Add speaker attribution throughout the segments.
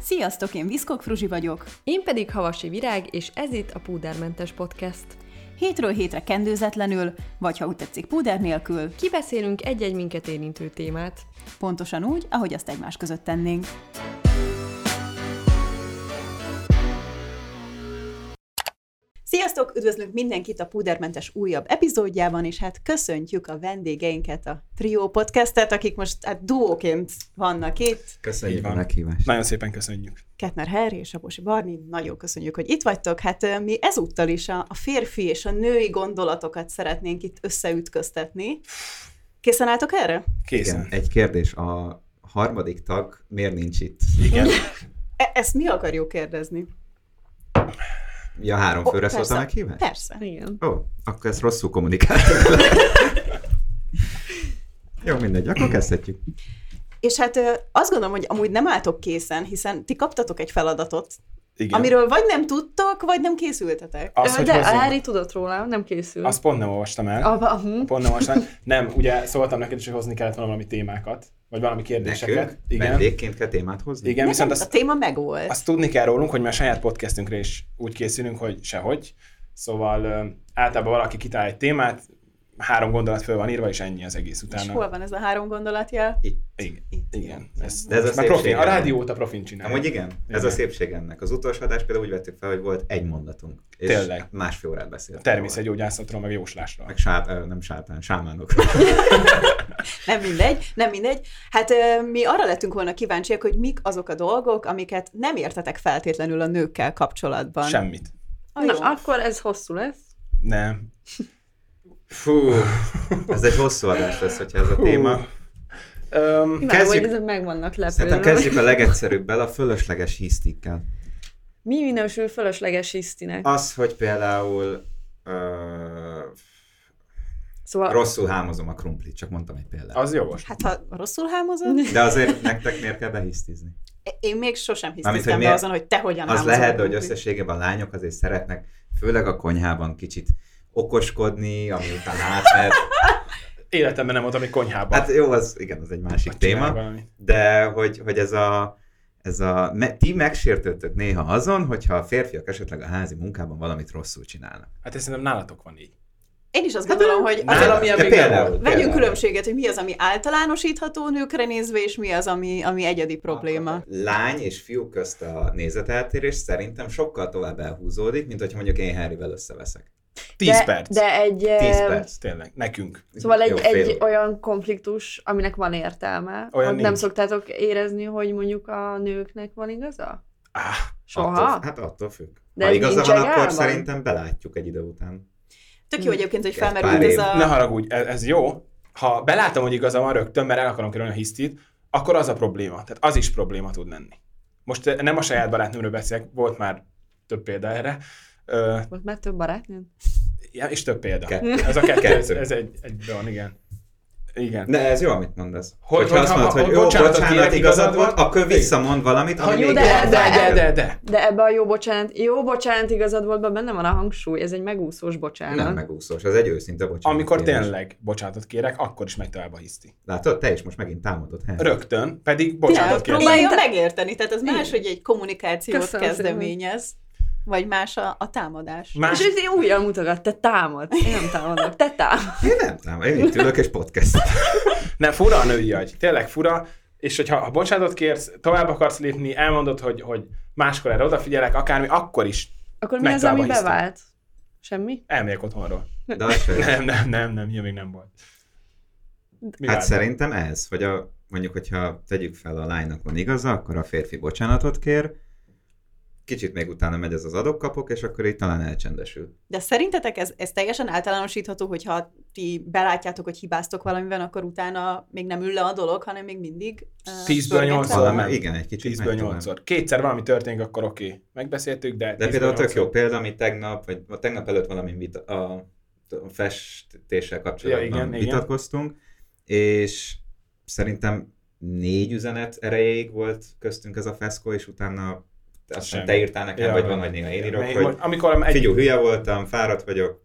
Speaker 1: Sziasztok, én Viszkok Fruzsi vagyok.
Speaker 2: Én pedig Havasi Virág, és ez itt a Púdermentes Podcast.
Speaker 1: Hétről hétre kendőzetlenül, vagy ha úgy tetszik, púder nélkül,
Speaker 2: Kibeszélünk egy-egy minket érintő témát.
Speaker 1: pontosan úgy, ahogy azt egymás között tennénk. Sziasztok! Üdvözlünk mindenkit a Púdermentes újabb epizódjában, és hát köszöntjük a vendégeinket, a Trio Podcastet, akik most hát duóként vannak itt.
Speaker 3: Köszönjük
Speaker 4: Így van.
Speaker 3: a meghívást.
Speaker 4: Nagyon szépen köszönjük.
Speaker 1: Kettner Harry és Sabosi Barni, nagyon köszönjük, hogy itt vagytok. Hát ö, mi ezúttal is a, a férfi és a női gondolatokat szeretnénk itt összeütköztetni. Készen álltok erre?
Speaker 4: Készen.
Speaker 3: Igen. Egy kérdés, a harmadik tag miért nincs itt?
Speaker 4: Igen.
Speaker 1: E- ezt mi akarjuk kérdezni?
Speaker 3: Ja, három
Speaker 1: Ó,
Speaker 3: főre szólt a
Speaker 1: persze.
Speaker 3: meghívás?
Speaker 1: Persze.
Speaker 2: Igen.
Speaker 3: Ó, akkor ezt rosszul kommunikáltuk. Jó, mindegy, akkor kezdhetjük.
Speaker 1: És hát ö, azt gondolom, hogy amúgy nem álltok készen, hiszen ti kaptatok egy feladatot,
Speaker 4: Igen.
Speaker 1: Igen. amiről vagy nem tudtok, vagy nem készültetek.
Speaker 4: Az, hogy
Speaker 2: De a
Speaker 4: hozzunk-
Speaker 2: Harry tudott róla, nem készül.
Speaker 4: Azt pont nem olvastam el.
Speaker 2: Abba, uh-huh.
Speaker 4: Pont nem olvastam. Nem, ugye szóltam neked is, hogy hozni kellett volna valami témákat, vagy valami kérdéseket.
Speaker 3: Nekünk
Speaker 4: Igen.
Speaker 3: vendégként kell témát hozni?
Speaker 4: Igen,
Speaker 1: Nekem
Speaker 4: viszont
Speaker 1: a
Speaker 4: azt,
Speaker 1: téma megvolt.
Speaker 4: azt tudni kell rólunk, hogy mi a saját podcastünkre is úgy készülünk, hogy sehogy. Szóval ö, általában valaki kitalál egy témát, három gondolat föl van írva, és ennyi az egész
Speaker 1: és
Speaker 4: utána.
Speaker 1: hol van ez a három gondolatjál?
Speaker 3: Itt.
Speaker 4: Igen.
Speaker 1: Itt.
Speaker 4: Igen. Ez,
Speaker 3: De ez a
Speaker 4: már profin,
Speaker 3: szépsége.
Speaker 4: a rádiót a profin csinál.
Speaker 3: Amúgy igen, ez a
Speaker 4: Igen.
Speaker 3: szépség ennek. Az utolsó adást például úgy vettük fel, hogy volt egy mondatunk. És
Speaker 4: Tényleg.
Speaker 3: másfél órát beszéltünk.
Speaker 4: Természetgyógyászatról, meg jóslásról.
Speaker 3: Meg sát, ö, nem sátán, sámánok.
Speaker 1: Nem mindegy, nem mindegy. Hát ö, mi arra lettünk volna kíváncsiak, hogy mik azok a dolgok, amiket nem értetek feltétlenül a nőkkel kapcsolatban.
Speaker 4: Semmit.
Speaker 1: Ah,
Speaker 2: Na,
Speaker 1: jó.
Speaker 2: akkor ez hosszú lesz.
Speaker 4: Nem.
Speaker 3: Fú, ez egy hosszú adás lesz, hogyha ez a téma.
Speaker 4: Öm,
Speaker 2: Imádom, hogy
Speaker 3: Kezdjük.
Speaker 2: ezek meg vannak
Speaker 3: Szerintem
Speaker 2: lepődve.
Speaker 3: kezdjük a legegyszerűbbel, a fölösleges hisztikkel.
Speaker 2: Mi minősül fölösleges hisztinek?
Speaker 3: Az, hogy például ö,
Speaker 2: Szóval
Speaker 3: rosszul hámozom a krumplit, csak mondtam egy példát.
Speaker 4: az jogos.
Speaker 1: Hát ha rosszul hámozod,
Speaker 3: De azért nektek miért kell behisztizni?
Speaker 1: én még sosem
Speaker 3: Mármint, hogy
Speaker 1: hiszem be
Speaker 3: miért-
Speaker 1: azon, hogy te hogyan
Speaker 3: Az
Speaker 1: hámozol
Speaker 3: lehet,
Speaker 1: a
Speaker 3: hogy
Speaker 1: krumplit.
Speaker 3: összességében a lányok azért szeretnek, főleg a konyhában kicsit okoskodni, ami után átmehet.
Speaker 4: Életemben nem voltam egy konyhában.
Speaker 3: Hát jó, az igen, az egy másik
Speaker 4: Vagy csinálj
Speaker 3: téma.
Speaker 4: valamit.
Speaker 3: De hogy, hogy ez a, ez a me, ti megsértődtök néha azon, hogyha a férfiak esetleg a házi munkában valamit rosszul csinálnak.
Speaker 4: Hát ez szerintem nálatok van így.
Speaker 1: Én is azt gondolom,
Speaker 2: Hát,
Speaker 1: hogy
Speaker 4: nem.
Speaker 1: az a...
Speaker 4: ami
Speaker 3: de
Speaker 4: még nem
Speaker 3: például,
Speaker 4: volt.
Speaker 1: Vegyünk
Speaker 3: például.
Speaker 1: különbséget, hogy mi az, ami általánosítható nőkre nézve, és mi az, ami, ami egyedi probléma.
Speaker 3: Lány és fiú közt a nézeteltérés szerintem sokkal tovább elhúzódik, mint hogyha mondjuk én Harryvel összeveszek.
Speaker 4: 10
Speaker 2: de,
Speaker 4: perc.
Speaker 2: de egy...
Speaker 3: 10
Speaker 2: em,
Speaker 3: perc.
Speaker 4: Tényleg, nekünk.
Speaker 2: Szóval egy,
Speaker 3: Jó, fél
Speaker 2: egy
Speaker 3: óra.
Speaker 2: olyan konfliktus, aminek van értelme.
Speaker 4: Olyan
Speaker 2: Olyan nem
Speaker 4: nincs.
Speaker 2: szoktátok érezni, hogy mondjuk a nőknek van igaza?
Speaker 4: Áh,
Speaker 2: Soha?
Speaker 3: Attól, hát attól függ.
Speaker 2: De
Speaker 3: De ha
Speaker 2: ez
Speaker 3: igaza
Speaker 2: nincs
Speaker 3: van,
Speaker 2: egálban?
Speaker 3: akkor szerintem belátjuk egy idő után.
Speaker 1: Tök jó
Speaker 2: Hm.
Speaker 1: egyébként, hogy
Speaker 3: Ez pár
Speaker 1: felmerült ez
Speaker 3: év.
Speaker 4: ne
Speaker 1: a...
Speaker 4: haragudj, ez, ez jó. Ha belátom, hogy igaza van rögtön, mert el akarom kerülni a hisztit, akkor az a probléma. Tehát az is probléma tud lenni. Most eh, nem a saját barátnőmről beszélek, volt már több példa erre. Ö,
Speaker 2: Volt már több barátnőd?
Speaker 4: ja, és több példa.
Speaker 3: Kettő.
Speaker 4: Ez a kettő, ez,
Speaker 3: Kettő.
Speaker 4: ez egy, egy van, igen. Igen.
Speaker 3: De ez jó, amit mondasz.
Speaker 4: Hogy-
Speaker 3: Hogy, Hogyha
Speaker 4: hogy
Speaker 3: azt
Speaker 4: ha-
Speaker 3: mondod,
Speaker 4: ha-
Speaker 3: hogy jó,
Speaker 4: bocsánatot
Speaker 3: bocsánat,
Speaker 4: kérek,
Speaker 3: igazad
Speaker 4: igazad
Speaker 3: van,
Speaker 4: van,
Speaker 3: akkor
Speaker 4: téged.
Speaker 3: visszamond valamit, ami
Speaker 4: jó,
Speaker 3: még
Speaker 4: de,
Speaker 3: jobban
Speaker 4: de, de,
Speaker 3: fáj.
Speaker 4: de, de.
Speaker 2: De ebbe a jó bocsánat, jó bocsánat igazad volt, benne van a hangsúly, ez egy megúszós bocsánat.
Speaker 3: Nem megúszós, ez egy őszinte bocsánat.
Speaker 4: Amikor
Speaker 3: kérés.
Speaker 4: tényleg bocsánatot kérek, akkor is megy tovább a hiszti.
Speaker 3: Látod, te is most megint támadod. Harry.
Speaker 4: Rögtön, pedig
Speaker 1: Ja,
Speaker 4: bocsánatot kérek.
Speaker 1: próbálja
Speaker 2: Én te-
Speaker 1: megérteni, tehát ez más, hogy egy kommunikációt
Speaker 2: Köszönöm szépen.
Speaker 1: kezdeményez, vagy más a, a támadás.
Speaker 4: Más-
Speaker 2: És ez én újra mutogat, te támad. Én nem támadok, te támad.
Speaker 3: Én nem támad, én itt ülök és podcast.
Speaker 4: Nem, fura a női agy, tényleg fura, és hogyha ha bocsánatot kérsz, tovább akarsz lépni, elmondod, hogy, hogy máskor erre odafigyelek, akármi, akkor is
Speaker 2: Akkor mi az,
Speaker 4: Megtámad
Speaker 2: ami
Speaker 4: hiszti.
Speaker 2: bevált? Semmi?
Speaker 4: elmegyek otthonról.
Speaker 3: De az se jó.
Speaker 4: Nem, nem, nem, nem, ilyen még nem volt. Mi
Speaker 3: Hát
Speaker 4: vált?
Speaker 3: szerintem ez, hogy a, mondjuk, hogyha tegyük fel a lánynak van igaza, akkor a férfi bocsánatot kér, kicsit még utána megy ez az adokkapok, és akkor így talán elcsendesül.
Speaker 1: De szerintetek ez, ez teljesen általánosítható, hogyha ti belátjátok, hogy hibáztok valamiben, akkor utána még nem ül le a dolog, hanem még mindig... eh,
Speaker 4: Tízből
Speaker 1: pörgetve
Speaker 4: nyolcszor
Speaker 1: van?
Speaker 4: nem.
Speaker 3: Szóval igen, egy kicsit
Speaker 4: 10-ből
Speaker 3: megy tovább.
Speaker 4: 8-szor. Kétszer valami történik, akkor oké. Okay. Megbeszéltük,
Speaker 3: De
Speaker 4: de... 10-ből
Speaker 3: például tök
Speaker 4: nyolcszor.
Speaker 3: jó példa, ami tegnap, vagy a tegnap előtt valami vita, a a festéssel kapcsolatban
Speaker 4: Ja, igen, igen.
Speaker 3: vitatkoztunk, és szerintem négy üzenet erejéig volt köztünk ez a feszkó, és utána aztán
Speaker 4: Semmi.
Speaker 3: te írtál nekem,
Speaker 4: Ja,
Speaker 3: vagy
Speaker 4: ja.
Speaker 3: van, hogy néha én írok,
Speaker 4: Még
Speaker 3: hogy
Speaker 4: most- Amikor egy...
Speaker 3: figyú, hülye voltam, fáradt vagyok,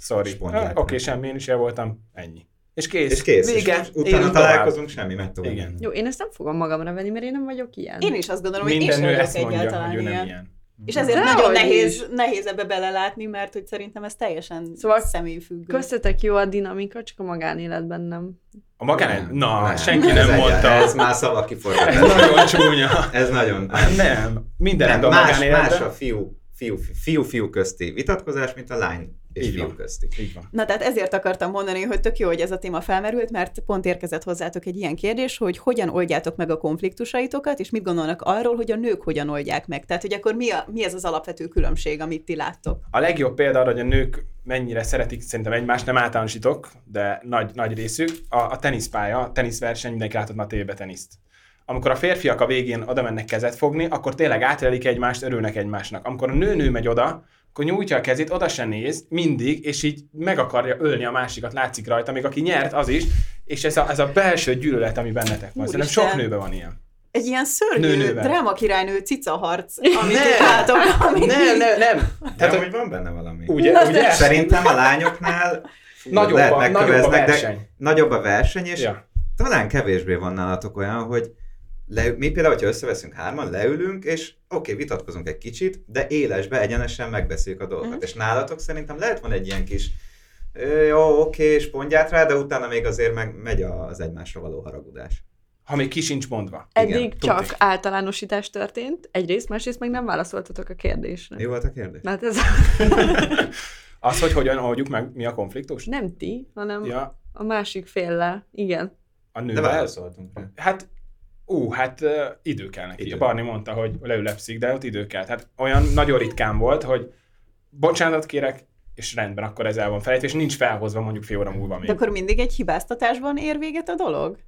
Speaker 4: Sorry.
Speaker 3: spondját.
Speaker 4: Ah, Oké, semmi, én is el voltam. Ennyi. És kész.
Speaker 3: És kész.
Speaker 4: Vége.
Speaker 3: és utána
Speaker 4: Élünk
Speaker 3: találkozunk, semmi, mert tovább.
Speaker 4: Igen.
Speaker 2: Jó, én ezt nem fogom magamra venni, mert én nem vagyok ilyen.
Speaker 1: Én is azt gondolom, hogy én
Speaker 4: Minden
Speaker 1: sem
Speaker 4: nő
Speaker 1: vagyok
Speaker 4: ezt mondja,
Speaker 1: egyáltalán
Speaker 4: hogy ő nem
Speaker 1: ilyen.
Speaker 4: ilyen.
Speaker 1: És ezért
Speaker 2: Dehogy
Speaker 1: nagyon
Speaker 2: is.
Speaker 1: nehéz, nehéz ebbe belelátni, mert hogy szerintem ez teljesen
Speaker 2: Szóval
Speaker 1: szóval személyfüggő.
Speaker 2: Köztetek jó a dinamika, csak a magánéletben nem.
Speaker 4: A magány?
Speaker 3: Nem.
Speaker 4: Na, senki nem
Speaker 3: Ez
Speaker 4: mondta.
Speaker 3: egy- Ez
Speaker 4: Ez
Speaker 3: már szavak kiforgatás.
Speaker 4: nagyon csúnya.
Speaker 3: Ez nagyon...
Speaker 4: Nem, minden
Speaker 3: Nem,
Speaker 4: rendben a
Speaker 3: más, más
Speaker 4: magánéletben.
Speaker 3: a fiú, fiú, fiú, fiú közti vitatkozás, mint a lány és
Speaker 4: Így
Speaker 3: fiú
Speaker 4: van.
Speaker 3: közti.
Speaker 4: Így van.
Speaker 1: Na tehát ezért akartam mondani, hogy tök jó, hogy ez a téma felmerült, mert pont érkezett hozzátok egy ilyen kérdés, hogy hogyan oldjátok meg a konfliktusaitokat, és mit gondolnak arról, hogy a nők hogyan oldják meg. Tehát, hogy akkor mi, a, mi ez az alapvető különbség, amit ti láttok?
Speaker 4: A legjobb példa arra, hogy a nők mennyire szeretik, szerintem egymást nem általánosítok, de nagy, nagy részük, a, a teniszpálya, a teniszverseny, mindenki látott már tévébe teniszt. Amikor a férfiak a végén oda mennek kezet fogni, akkor tényleg átélik egymást, örülnek egymásnak. Amikor a nőnő megy oda, akkor nyújtja a kezét, oda se néz, mindig, és így meg akarja ölni a másikat, látszik rajta, még aki nyert, az is, és ez a, ez a belső gyűlölet, ami bennetek van. Szerintem sok
Speaker 1: Úristen.
Speaker 4: nőben van ilyen.
Speaker 1: Egy ilyen szörnyű
Speaker 4: Nőnővel.
Speaker 1: drámakirálynő cicaharc, amit
Speaker 4: Nem.
Speaker 1: itt látok. Amit
Speaker 4: Nem, nem, nem.
Speaker 3: Tehát,
Speaker 4: Tehát,
Speaker 3: hogy van benne valami.
Speaker 4: ugye, ugye?
Speaker 3: Szerintem a lányoknál fú,
Speaker 4: Nagyobb
Speaker 3: lehet
Speaker 4: a- nagyobb a
Speaker 3: megköveznek, de
Speaker 4: verseny.
Speaker 3: Nagyobb a verseny, és
Speaker 4: Ja.
Speaker 3: talán kevésbé van nálatok olyan, hogy le, mi például, hogyha összeveszünk hárman, leülünk, és oké, okay, vitatkozunk egy kicsit, de élesbe, egyenesen megbeszéljük a
Speaker 2: Mhm.
Speaker 3: dolgokat. Mm. És nálatok szerintem lehet van egy ilyen kis ö, jó, oké, okay, és pontját rá, de utána még azért meg megy az egymásra való haragudás.
Speaker 4: Ha még ki sincs mondva.
Speaker 2: Eddig
Speaker 3: Igen,
Speaker 2: csak
Speaker 4: tudni.
Speaker 2: általánosítás történt, egyrészt, másrészt meg nem válaszoltatok a kérdésre.
Speaker 3: Mi volt a kérdés?
Speaker 2: Hát ez
Speaker 4: Az, hogy hogyan oldjuk meg, mi a konfliktus?
Speaker 2: nem ti, hanem ja.
Speaker 4: Ja,
Speaker 2: a másik féllel. Igen.
Speaker 4: a
Speaker 3: De
Speaker 4: nővel.
Speaker 3: válaszoltunk rá.
Speaker 4: Hát, ú, hát ö, idő kell neki.
Speaker 3: Idő.
Speaker 4: Idő. Barni mondta, hogy leülepszik, de ott idő kell. Tehát olyan nagyon ritkán volt, hogy bocsánatot kérek, és rendben, akkor ez el van felejtve, és nincs felhozva mondjuk fél óra múlva még.
Speaker 1: De akkor mindig egy hibáztatásban ér véget a dolog?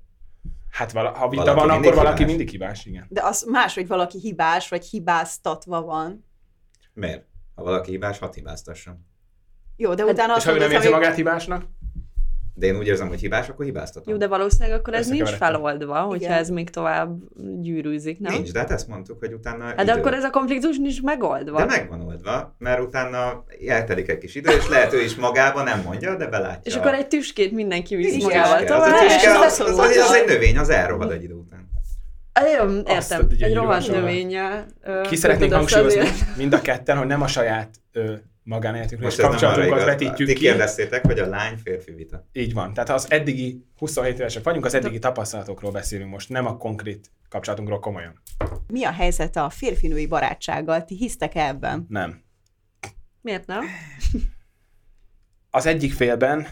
Speaker 4: Hát vala, ha vita
Speaker 3: Valaki
Speaker 4: van,
Speaker 3: mindig
Speaker 4: akkor valaki
Speaker 3: hibás.
Speaker 4: mindig hibás, igen.
Speaker 1: De az más, hogy valaki hibás, vagy hibáztatva van.
Speaker 3: Miért? Ha valaki hibás, hat hibáztassam.
Speaker 1: Jó, de utána
Speaker 4: Hát,
Speaker 1: azt
Speaker 4: És ha ő
Speaker 1: mondod,
Speaker 4: nem érzi
Speaker 1: hogy
Speaker 4: magát hibásnak,
Speaker 3: De én úgy érzem, hogy hibás, akkor hibáztatom.
Speaker 2: Jó, de valószínűleg akkor ez nincs
Speaker 4: Összekeveredtem.
Speaker 2: feloldva, hogyha
Speaker 1: Igen.
Speaker 2: ez még tovább gyűrűzik, nem?
Speaker 3: Nincs, de hát ezt mondtuk, hogy utána
Speaker 2: Hát de
Speaker 3: idő.
Speaker 2: akkor ez a konfliktus nincs megoldva.
Speaker 3: De meg van oldva, mert utána eltelik egy kis idő, és lehet ő is magába nem mondja, de belátja.
Speaker 2: És akkor egy tüskét mindenki visz
Speaker 1: Igen.
Speaker 2: magával
Speaker 1: Tüske,
Speaker 3: az,
Speaker 2: tovább.
Speaker 3: a
Speaker 1: és
Speaker 3: tüske,
Speaker 1: ez
Speaker 3: az, az, az, az, egy
Speaker 1: abszolút-
Speaker 3: növény, az elrohad egy idő után.
Speaker 2: Én
Speaker 4: Azt
Speaker 2: értem,
Speaker 4: ugye
Speaker 2: egy
Speaker 4: nyilván
Speaker 2: rohadt
Speaker 4: soha.
Speaker 2: növénye.
Speaker 4: ki szeretnénk hangsúlyozni mind a ketten, hogy nem a saját ö, magánéletünkre és
Speaker 3: Most ez nem arra
Speaker 4: kapcsolatunkat
Speaker 3: igaz.
Speaker 4: vetítjük
Speaker 3: Ti
Speaker 4: ki.
Speaker 3: kérdeztétek, hogy a lány-férfi vita.
Speaker 4: Így van. Tehát az eddigi 27 évesek vagyunk, az eddigi tapasztalatokról beszélünk most, nem a konkrét kapcsolatunkról komolyan.
Speaker 1: mi a helyzet a férfinői barátsággal? Ti hisztek -e ebben?
Speaker 4: Nem.
Speaker 2: Miért nem?
Speaker 4: Az egyik félben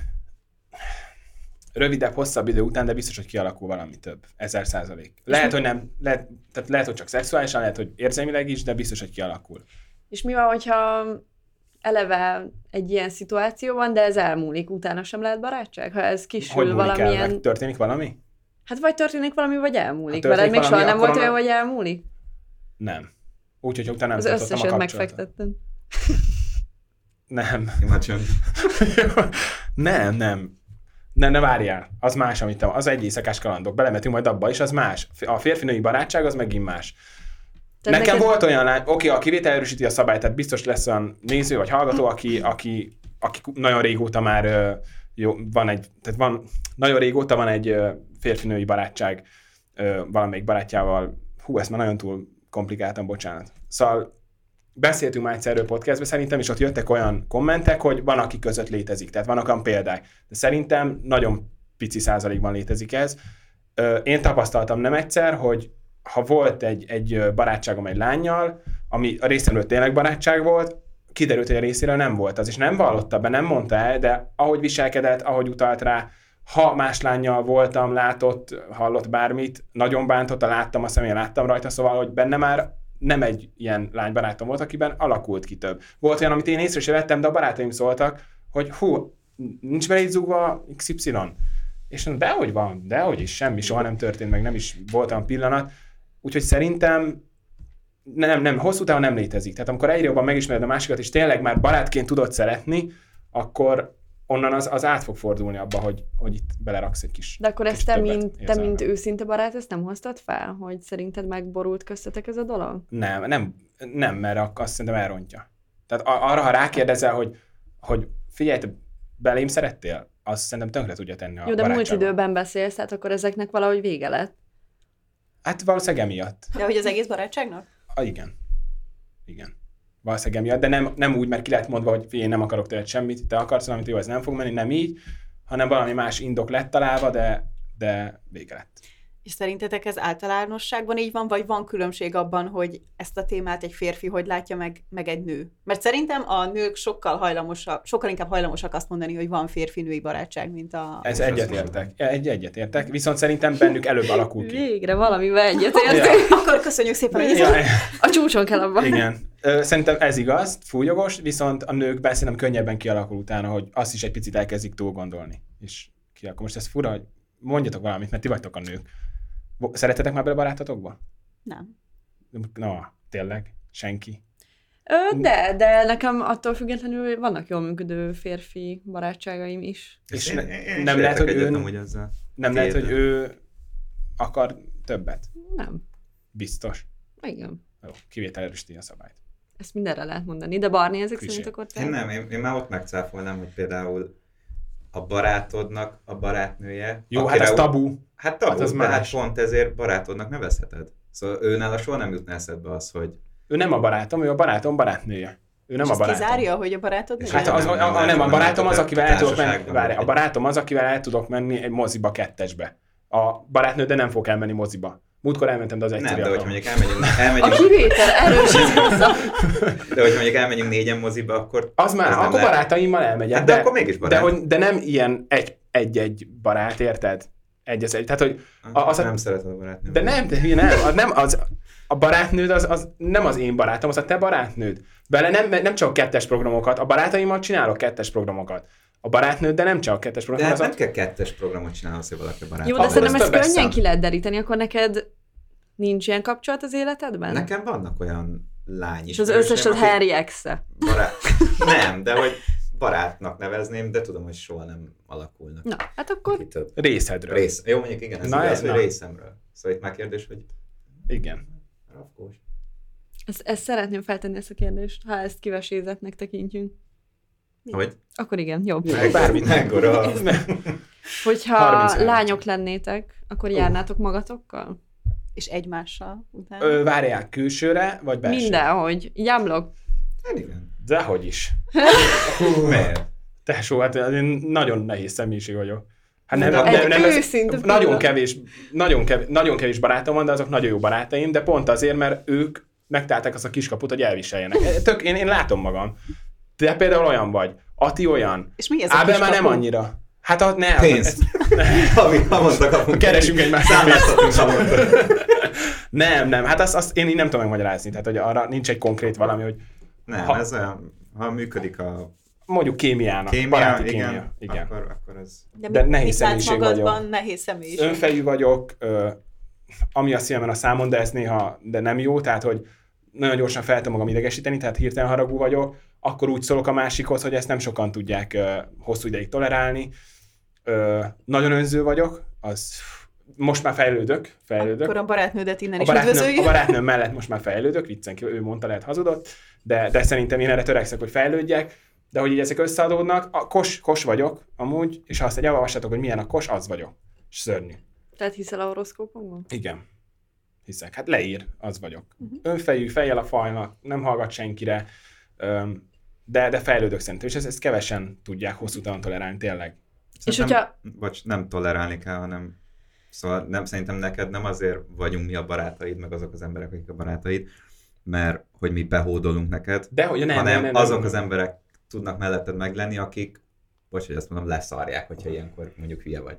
Speaker 4: rövidebb, hosszabb idő után, de biztos, hogy kialakul valami több. Ezer százalék. Lehet, hogy nem, lehet, tehát lehet, hogy csak szexuálisan, lehet, hogy érzelmileg is, de biztos, hogy kialakul.
Speaker 2: És mi van, hogyha eleve egy ilyen szituációban, de ez elmúlik, utána sem lehet barátság, ha ez
Speaker 4: Hogy
Speaker 2: kisül
Speaker 4: múlik el, meg
Speaker 2: valamilyen...
Speaker 4: történik valami?
Speaker 2: Hát vagy történik valami, vagy elmúlik.
Speaker 4: Ha
Speaker 2: Veled
Speaker 4: történik
Speaker 2: még soha
Speaker 4: valami,
Speaker 2: nem volt
Speaker 4: akkor
Speaker 2: olyan,
Speaker 4: annak-
Speaker 2: hogy elmúlik?
Speaker 4: Nem. Úgyhogy utána nem
Speaker 2: az
Speaker 4: tartottam a
Speaker 2: összeset
Speaker 4: kapcsolatot.
Speaker 2: megfektettem.
Speaker 4: Nem.
Speaker 3: Ima csönd.
Speaker 4: nem, nem. Ne, ne várjál, az más, amit te, az egy éjszakás kalandok, belemetünk majd abba is, az más. A férfinői barátság az megint más.
Speaker 2: Tehát
Speaker 4: Nekem
Speaker 2: neked-
Speaker 4: volt olyan lány, oké, a kivétel erősíti a szabályt, tehát biztos lesz olyan néző vagy hallgató, aki, aki, aki nagyon régóta már ö, jó, van egy, tehát van, nagyon régóta van egy ö, férfinői barátság ö, valamelyik barátjával. Hú, ezt már nagyon túl komplikáltam, bocsánat. Szóval beszéltünk már egyszer erről podcastben, szerintem is ott jöttek olyan kommentek, hogy van, aki között létezik, tehát vannak olyan példák. De szerintem nagyon pici százalékban létezik ez. Ö, Én tapasztaltam nem egyszer, hogy ha volt egy, egy ö, barátságom egy lányjal, ami a részemről tényleg barátság volt, kiderült, hogy a részéről nem volt az, és nem vallotta be, nem mondta el, de ahogy viselkedett, ahogy utalt rá, ha más lányjal voltam, látott, hallott bármit, nagyon bántotta, láttam a személyen, láttam rajta, szóval, hogy benne már nem egy ilyen lánybarátom volt, akiben alakult ki több. Volt olyan, amit én észre sem vettem, de a barátaim szóltak, hogy hú, nincs bele így zúgva XY. És mondom, dehogy van, dehogy is, semmi soha nem történt, meg nem is volt olyan pillanat. Úgyhogy szerintem nem, nem, hosszú távon nem létezik. Tehát amikor egyre jobban megismered a másikat, és tényleg már barátként tudod szeretni, akkor onnan az, az át fog fordulni abba, hogy, hogy itt beleraksz egy kis
Speaker 2: De akkor
Speaker 4: kis
Speaker 2: ezt te
Speaker 4: többet
Speaker 2: mint, te,
Speaker 4: érzelmet.
Speaker 2: mint őszinte barát, ezt nem hoztad fel, hogy szerinted megborult köztetek ez a dolog?
Speaker 4: Nem, nem, nem, mert ak- azt szerintem elrontja. Tehát a- arra, ha rákérdezel, hogy, hogy figyelj, te belém szerettél? az szerintem tönkre tudja tenni a
Speaker 2: Jó, de múlt
Speaker 4: barátságot.
Speaker 2: időben beszélsz, tehát akkor ezeknek valahogy vége lett.
Speaker 4: Hát valószínűleg emiatt.
Speaker 1: De hogy az egész barátságnak?
Speaker 4: Ah, igen. Igen. Valószínűleg emiatt, de nem, nem úgy, mert ki lehet mondva, hogy figyelj, én nem akarok tőled semmit, te akarsz valamit, jó, ez nem fog menni, nem így, hanem valami más indok lett találva, de, de vége lett.
Speaker 1: És szerintetek ez általánosságban így van, vagy van különbség abban, hogy ezt a témát egy férfi hogy látja meg, meg egy nő? Mert szerintem a nők sokkal hajlamosak, sokkal inkább hajlamosak azt mondani, hogy van férfi-női barátság, mint a...
Speaker 4: Ez
Speaker 3: Most
Speaker 4: egyetértek. Egy, egyetértek, viszont szerintem bennük előbb alakul ki.
Speaker 2: Végre valamivel egyetértünk.
Speaker 1: Akkor köszönjük szépen, hogy
Speaker 4: Ja,
Speaker 2: A csúcson kell abban.
Speaker 4: igen. Ö, Szerintem ez igaz, fújogos, viszont a nőkben szerintem könnyebben kialakul utána, hogy azt is egy picit elkezdik túl gondolni. És ki, akkor most ez fura, hogy mondjatok valamit, mert ti vagytok a nők. Bo- Szeretetek már bele barátotokba?
Speaker 1: Nem.
Speaker 4: Na, tényleg? Senki?
Speaker 2: Ö, de, de nekem attól függetlenül vannak jól működő férfi barátságaim is.
Speaker 4: És
Speaker 3: Én-
Speaker 4: ne-
Speaker 3: én- én is
Speaker 4: nem lehet,
Speaker 3: értek
Speaker 4: hogy
Speaker 3: egyet
Speaker 4: ön-
Speaker 3: amúgy ezzel.
Speaker 4: Nem lehet,
Speaker 3: Tiéd.
Speaker 4: hogy ő akar többet?
Speaker 2: Nem.
Speaker 4: Biztos.
Speaker 2: Igen.
Speaker 4: Jó, kivétel erősíti a szabályt.
Speaker 2: Ezt mindenre lehet mondani, de Barni ezek
Speaker 4: Klisé.
Speaker 2: szerint akkor te...
Speaker 3: Én nem, én, én már ott megcáfolnám, hogy például a barátodnak a barátnője.
Speaker 4: Jó, hát
Speaker 3: akire
Speaker 4: ez
Speaker 3: úgy-
Speaker 4: tabu.
Speaker 3: Hát tabu,
Speaker 4: Hát
Speaker 3: hát
Speaker 4: az
Speaker 3: az de hát
Speaker 4: más.
Speaker 3: pont ezért barátodnak nevezheted. Szóval őnála soha nem jutna eszedbe az, hogy
Speaker 4: Ő nem a barátom, ő a barátom barátnője. Ő nem
Speaker 1: és
Speaker 4: a
Speaker 1: ezt
Speaker 4: barátom.
Speaker 1: kizárja, hogy a barátod
Speaker 3: És
Speaker 1: nő?
Speaker 4: Hát
Speaker 3: Nem,
Speaker 4: az,
Speaker 3: nem,
Speaker 4: a,
Speaker 3: nem,
Speaker 4: a,
Speaker 3: nem,
Speaker 4: nem, a
Speaker 3: nem,
Speaker 4: barátom
Speaker 3: nem,
Speaker 4: az,
Speaker 3: nem,
Speaker 4: akivel
Speaker 3: nem,
Speaker 4: el tudok menni,
Speaker 3: társaságban
Speaker 4: várj, a
Speaker 3: vagy.
Speaker 4: barátom az, akivel el tudok menni egy moziba kettesbe. A barátnő, de nem fog elmenni moziba. Múltkor elmentem, de az egyszerű
Speaker 3: nem, de
Speaker 4: alkalom.
Speaker 3: hogyha mondjuk elmegyünk,
Speaker 2: A
Speaker 3: elmegyünk,
Speaker 2: kivétel erősít hozzá.
Speaker 3: de hogyha mondjuk elmegyünk négyen moziba, akkor
Speaker 4: Az már,
Speaker 3: Ez nem
Speaker 4: akkor
Speaker 3: lehet.
Speaker 4: barátaimmal elmegyek.
Speaker 3: Hát de akkor mégis barát.
Speaker 4: De, hogy, de nem ilyen egy- egy-egy barát, érted? Egy az egy. Tehát, hogy a- az
Speaker 3: az
Speaker 4: a-
Speaker 3: nem szereted a barátnőt.
Speaker 4: De nem, de hülye, nem, az nem az, a barátnőd az, az, nem az én barátom, az a te barátnőd. Vele nem, nem csak kettes programokat, a barátaimmal csinálok kettes programokat. A barátnőd, de nem csak kettes
Speaker 3: De hát
Speaker 4: programokat.
Speaker 3: nem kell kettes programot csinálni, hogy valaki a barátod.
Speaker 2: Jó, de
Speaker 4: Ahhoz
Speaker 2: szerintem ezt
Speaker 4: többes
Speaker 2: könnyen
Speaker 4: szám.
Speaker 2: ki lehet deríteni, akkor neked nincs ilyen kapcsolat az életedben?
Speaker 3: Nekem vannak olyan lány
Speaker 2: És az összes az
Speaker 3: akik-
Speaker 2: Harry ex
Speaker 3: Barát... Nem, de hogy barátnak nevezném, de tudom, hogy soha nem alakulnak
Speaker 2: Na, hát akkor
Speaker 3: ki több.
Speaker 4: Részedről.
Speaker 3: Rész. Jó, mondjuk igen, ez
Speaker 4: Na,
Speaker 3: Na, igaz,
Speaker 4: ez-
Speaker 3: hogy
Speaker 4: na.
Speaker 3: részemről. Szóval itt már kérdés, hogy
Speaker 4: Igen.
Speaker 3: rafkós.
Speaker 2: ezt, ezt szeretném feltenni ezt a kérdést, ha ezt kivesézetnek tekintjünk.
Speaker 3: Hogy?
Speaker 2: Akkor igen, jobb.
Speaker 4: Meg- Bármit.
Speaker 3: Meggora.
Speaker 2: Hogyha
Speaker 4: 33.
Speaker 2: lányok lennétek, akkor járnátok magatokkal?
Speaker 1: És egymással utána?
Speaker 4: Ö, várják külsőre, vagy belső?
Speaker 2: Mindenhogy. Jamlok.
Speaker 3: Hát igen.
Speaker 4: Dehogy is.
Speaker 3: Miért?
Speaker 4: Tesó, hát én nagyon nehéz személyiség vagyok. Hát
Speaker 3: De
Speaker 2: egy őszinte
Speaker 4: nagyon,
Speaker 2: pillanat.
Speaker 4: kevés, nagyon, kevés, nagyon kevés barátom van, de azok nagyon jó barátaim, de pont azért, mert ők megtálták azt a kiskaput, hogy elviseljenek. Tök, én, én látom magam. Te például olyan vagy. Ati olyan.
Speaker 1: És mi ez a
Speaker 4: Ábel már nem
Speaker 1: kiskapu?
Speaker 4: annyira. Hát a, ne,
Speaker 3: Pénzt. Havi, havonta kapunk.
Speaker 4: Keresünk egymást.
Speaker 3: Számláztatunk havonta.
Speaker 4: Nem, nem, hát azt, azt én így nem tudom megmagyarázni. Tehát, hogy arra nincs egy konkrét valami, hogy
Speaker 3: Nem,
Speaker 4: Ha-
Speaker 3: ez olyan, ha működik a
Speaker 4: mondjuk kémiának, kémia,
Speaker 3: kémia,
Speaker 4: baráti
Speaker 3: igen,
Speaker 4: kémia. Igen.
Speaker 3: Akkor, akkor ez...
Speaker 1: De,
Speaker 4: de
Speaker 1: mit-
Speaker 4: nehéz
Speaker 1: mit látsz
Speaker 4: személyiség vagyok.
Speaker 1: magadban, nehéz személyiség.
Speaker 4: önfejű vagyok, ö, ami a szívemen a számon, de ez néha de nem jó, tehát hogy nagyon gyorsan fel tudom magam idegesíteni, tehát hirtelen haragú vagyok, akkor úgy szólok a másikhoz, hogy ezt nem sokan tudják ö, hosszú ideig tolerálni. Ö, nagyon önző vagyok, az most már fejlődök, fejlődök.
Speaker 1: Akkor a barátnődet innen
Speaker 4: A
Speaker 1: is
Speaker 4: barátnőm, a
Speaker 1: üdvözöljük.
Speaker 4: barátnőm mellett most már fejlődök, viccen kívül, ő mondta, lehet hazudott, de, de szerintem én erre törekszek, hogy fejlődjek, de hogy így ezek összeadódnak, a kos, kos vagyok amúgy, és ha azt egy elolvassátok, hogy milyen a kos, az vagyok. Szörnyű.
Speaker 2: Tehát hiszel a horoszkópokban?
Speaker 4: Igen. Hiszek. Hát leír, az vagyok.
Speaker 2: Mhm.
Speaker 4: Uh-huh. Önfejű, fejjel a fajnak, nem hallgat senkire, öm, de, de fejlődök szerintem, és ezt, ezt kevesen tudják hosszú távon tolerálni, tényleg.
Speaker 3: Szerintem- Bocs, nem tolerálni kell, hanem szóval nem, szerintem neked nem azért vagyunk mi a barátaid, meg azok az emberek, akik a barátaid, mert hogy mi behódolunk neked,
Speaker 4: De hogy nem,
Speaker 3: hanem
Speaker 4: nem, nem, nem,
Speaker 3: azok az emberek tudnak melletted meglenni, akik, bocs, hogy azt mondom, leszarják, hogyha ilyenkor mondjuk hülye vagy.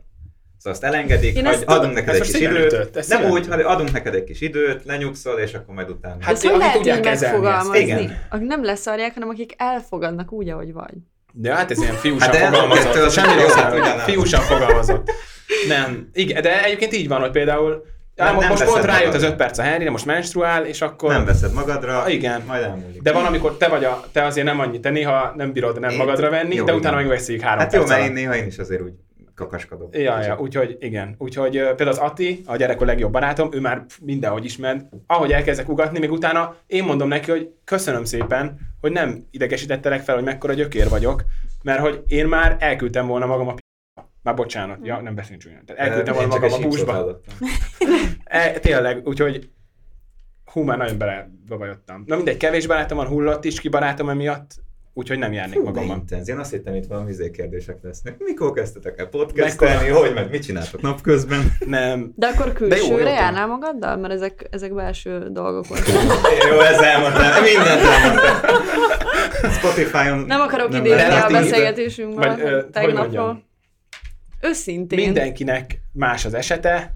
Speaker 3: Szóval azt elengedik,
Speaker 2: Én
Speaker 3: hogy
Speaker 2: ezt tudom.
Speaker 3: adunk neked
Speaker 4: Ez
Speaker 3: egy
Speaker 4: most
Speaker 3: kis
Speaker 4: szívre
Speaker 3: időt,
Speaker 4: ütött, ez
Speaker 3: nem
Speaker 4: szívre
Speaker 3: úgy,
Speaker 4: ütött.
Speaker 3: hanem adunk neked egy kis időt, lenyugszol, és akkor majd utána.
Speaker 4: Hát
Speaker 2: Hát, hogy
Speaker 4: akik
Speaker 2: lehet így
Speaker 4: tudják kezelni
Speaker 2: megfogalmazni?
Speaker 3: ezt.
Speaker 2: Igen.
Speaker 3: Igen.
Speaker 2: Akik nem leszarják, hanem akik elfogadnak úgy, ahogy vagy.
Speaker 4: De hát ez ilyen fiúsan
Speaker 3: Hát de ez kettő
Speaker 4: fogalmazott.
Speaker 3: az
Speaker 4: Semmi
Speaker 3: nem
Speaker 4: rossz hát
Speaker 3: jó,
Speaker 4: nem,
Speaker 3: ugyanaz.
Speaker 4: fiúsan fogalmazott. Nem. Igen, de egyébként így van, hogy például
Speaker 3: Nem- nem
Speaker 4: nem, most
Speaker 3: veszed
Speaker 4: pont rájött az
Speaker 3: magadra.
Speaker 4: 5 perc a Henry, most menstruál, és akkor...
Speaker 3: nem veszed magadra,
Speaker 4: Igen.
Speaker 3: majd elmúlik.
Speaker 4: de van, amikor te vagy a, te azért nem annyi, te néha nem bírod nem
Speaker 3: Én-
Speaker 4: magadra venni,
Speaker 3: jó,
Speaker 4: de utána
Speaker 3: igen.
Speaker 4: megveszik három
Speaker 3: Hát jó,
Speaker 4: perc
Speaker 3: mert
Speaker 4: alatt.
Speaker 3: én néha én is azért úgy kakaskadok.
Speaker 4: Ja, ja, úgyhogy igen. Úgyhogy ö, például az Ati, a gyerek a legjobb barátom, ő már pff, mindenhogy ismert. Ahogy elkezdek ugatni, még utána én mondom neki, hogy köszönöm szépen, hogy nem idegesítettelek fel, hogy mekkora gyökér vagyok, mert hogy én már elküldtem volna magam a Már bocsánat, ja, nem beszélünk csúnyán. Tehát
Speaker 3: Én
Speaker 4: elküldtem volna
Speaker 3: csak
Speaker 4: magam
Speaker 3: egy
Speaker 4: a
Speaker 3: hípszót
Speaker 4: búzsba.
Speaker 3: hallottam.
Speaker 4: E, tényleg, úgyhogy hú, már nagyon belebabajottam. Na mindegy, kevés barátom van, hullott is ki barátom emiatt, úgyhogy nem járnék
Speaker 3: Fú, de
Speaker 4: magamban.
Speaker 3: intenz. Én azt hittem, itt valami izé kérdések lesznek. Mikor kezdtetek el podcastelni, hogy meg mit csináltok napközben?
Speaker 4: Nem,
Speaker 2: De akkor
Speaker 4: jó,
Speaker 2: külsőre
Speaker 4: jó,
Speaker 2: De
Speaker 4: jó.
Speaker 2: jó, járnál magaddal? Mert ezek, ezek belső dolgok voltak.
Speaker 3: Jó, ez elmondtam. Mindent elmondtam. Spotify-on
Speaker 2: Nem akarok
Speaker 3: nem
Speaker 2: idézni
Speaker 3: lehet.
Speaker 2: a
Speaker 3: Relatív.
Speaker 2: beszélgetésünkből
Speaker 4: vagy ö, hogy
Speaker 2: tegnapról.
Speaker 4: mondjam,
Speaker 2: Őszintén.
Speaker 4: mindenkinek más az esete,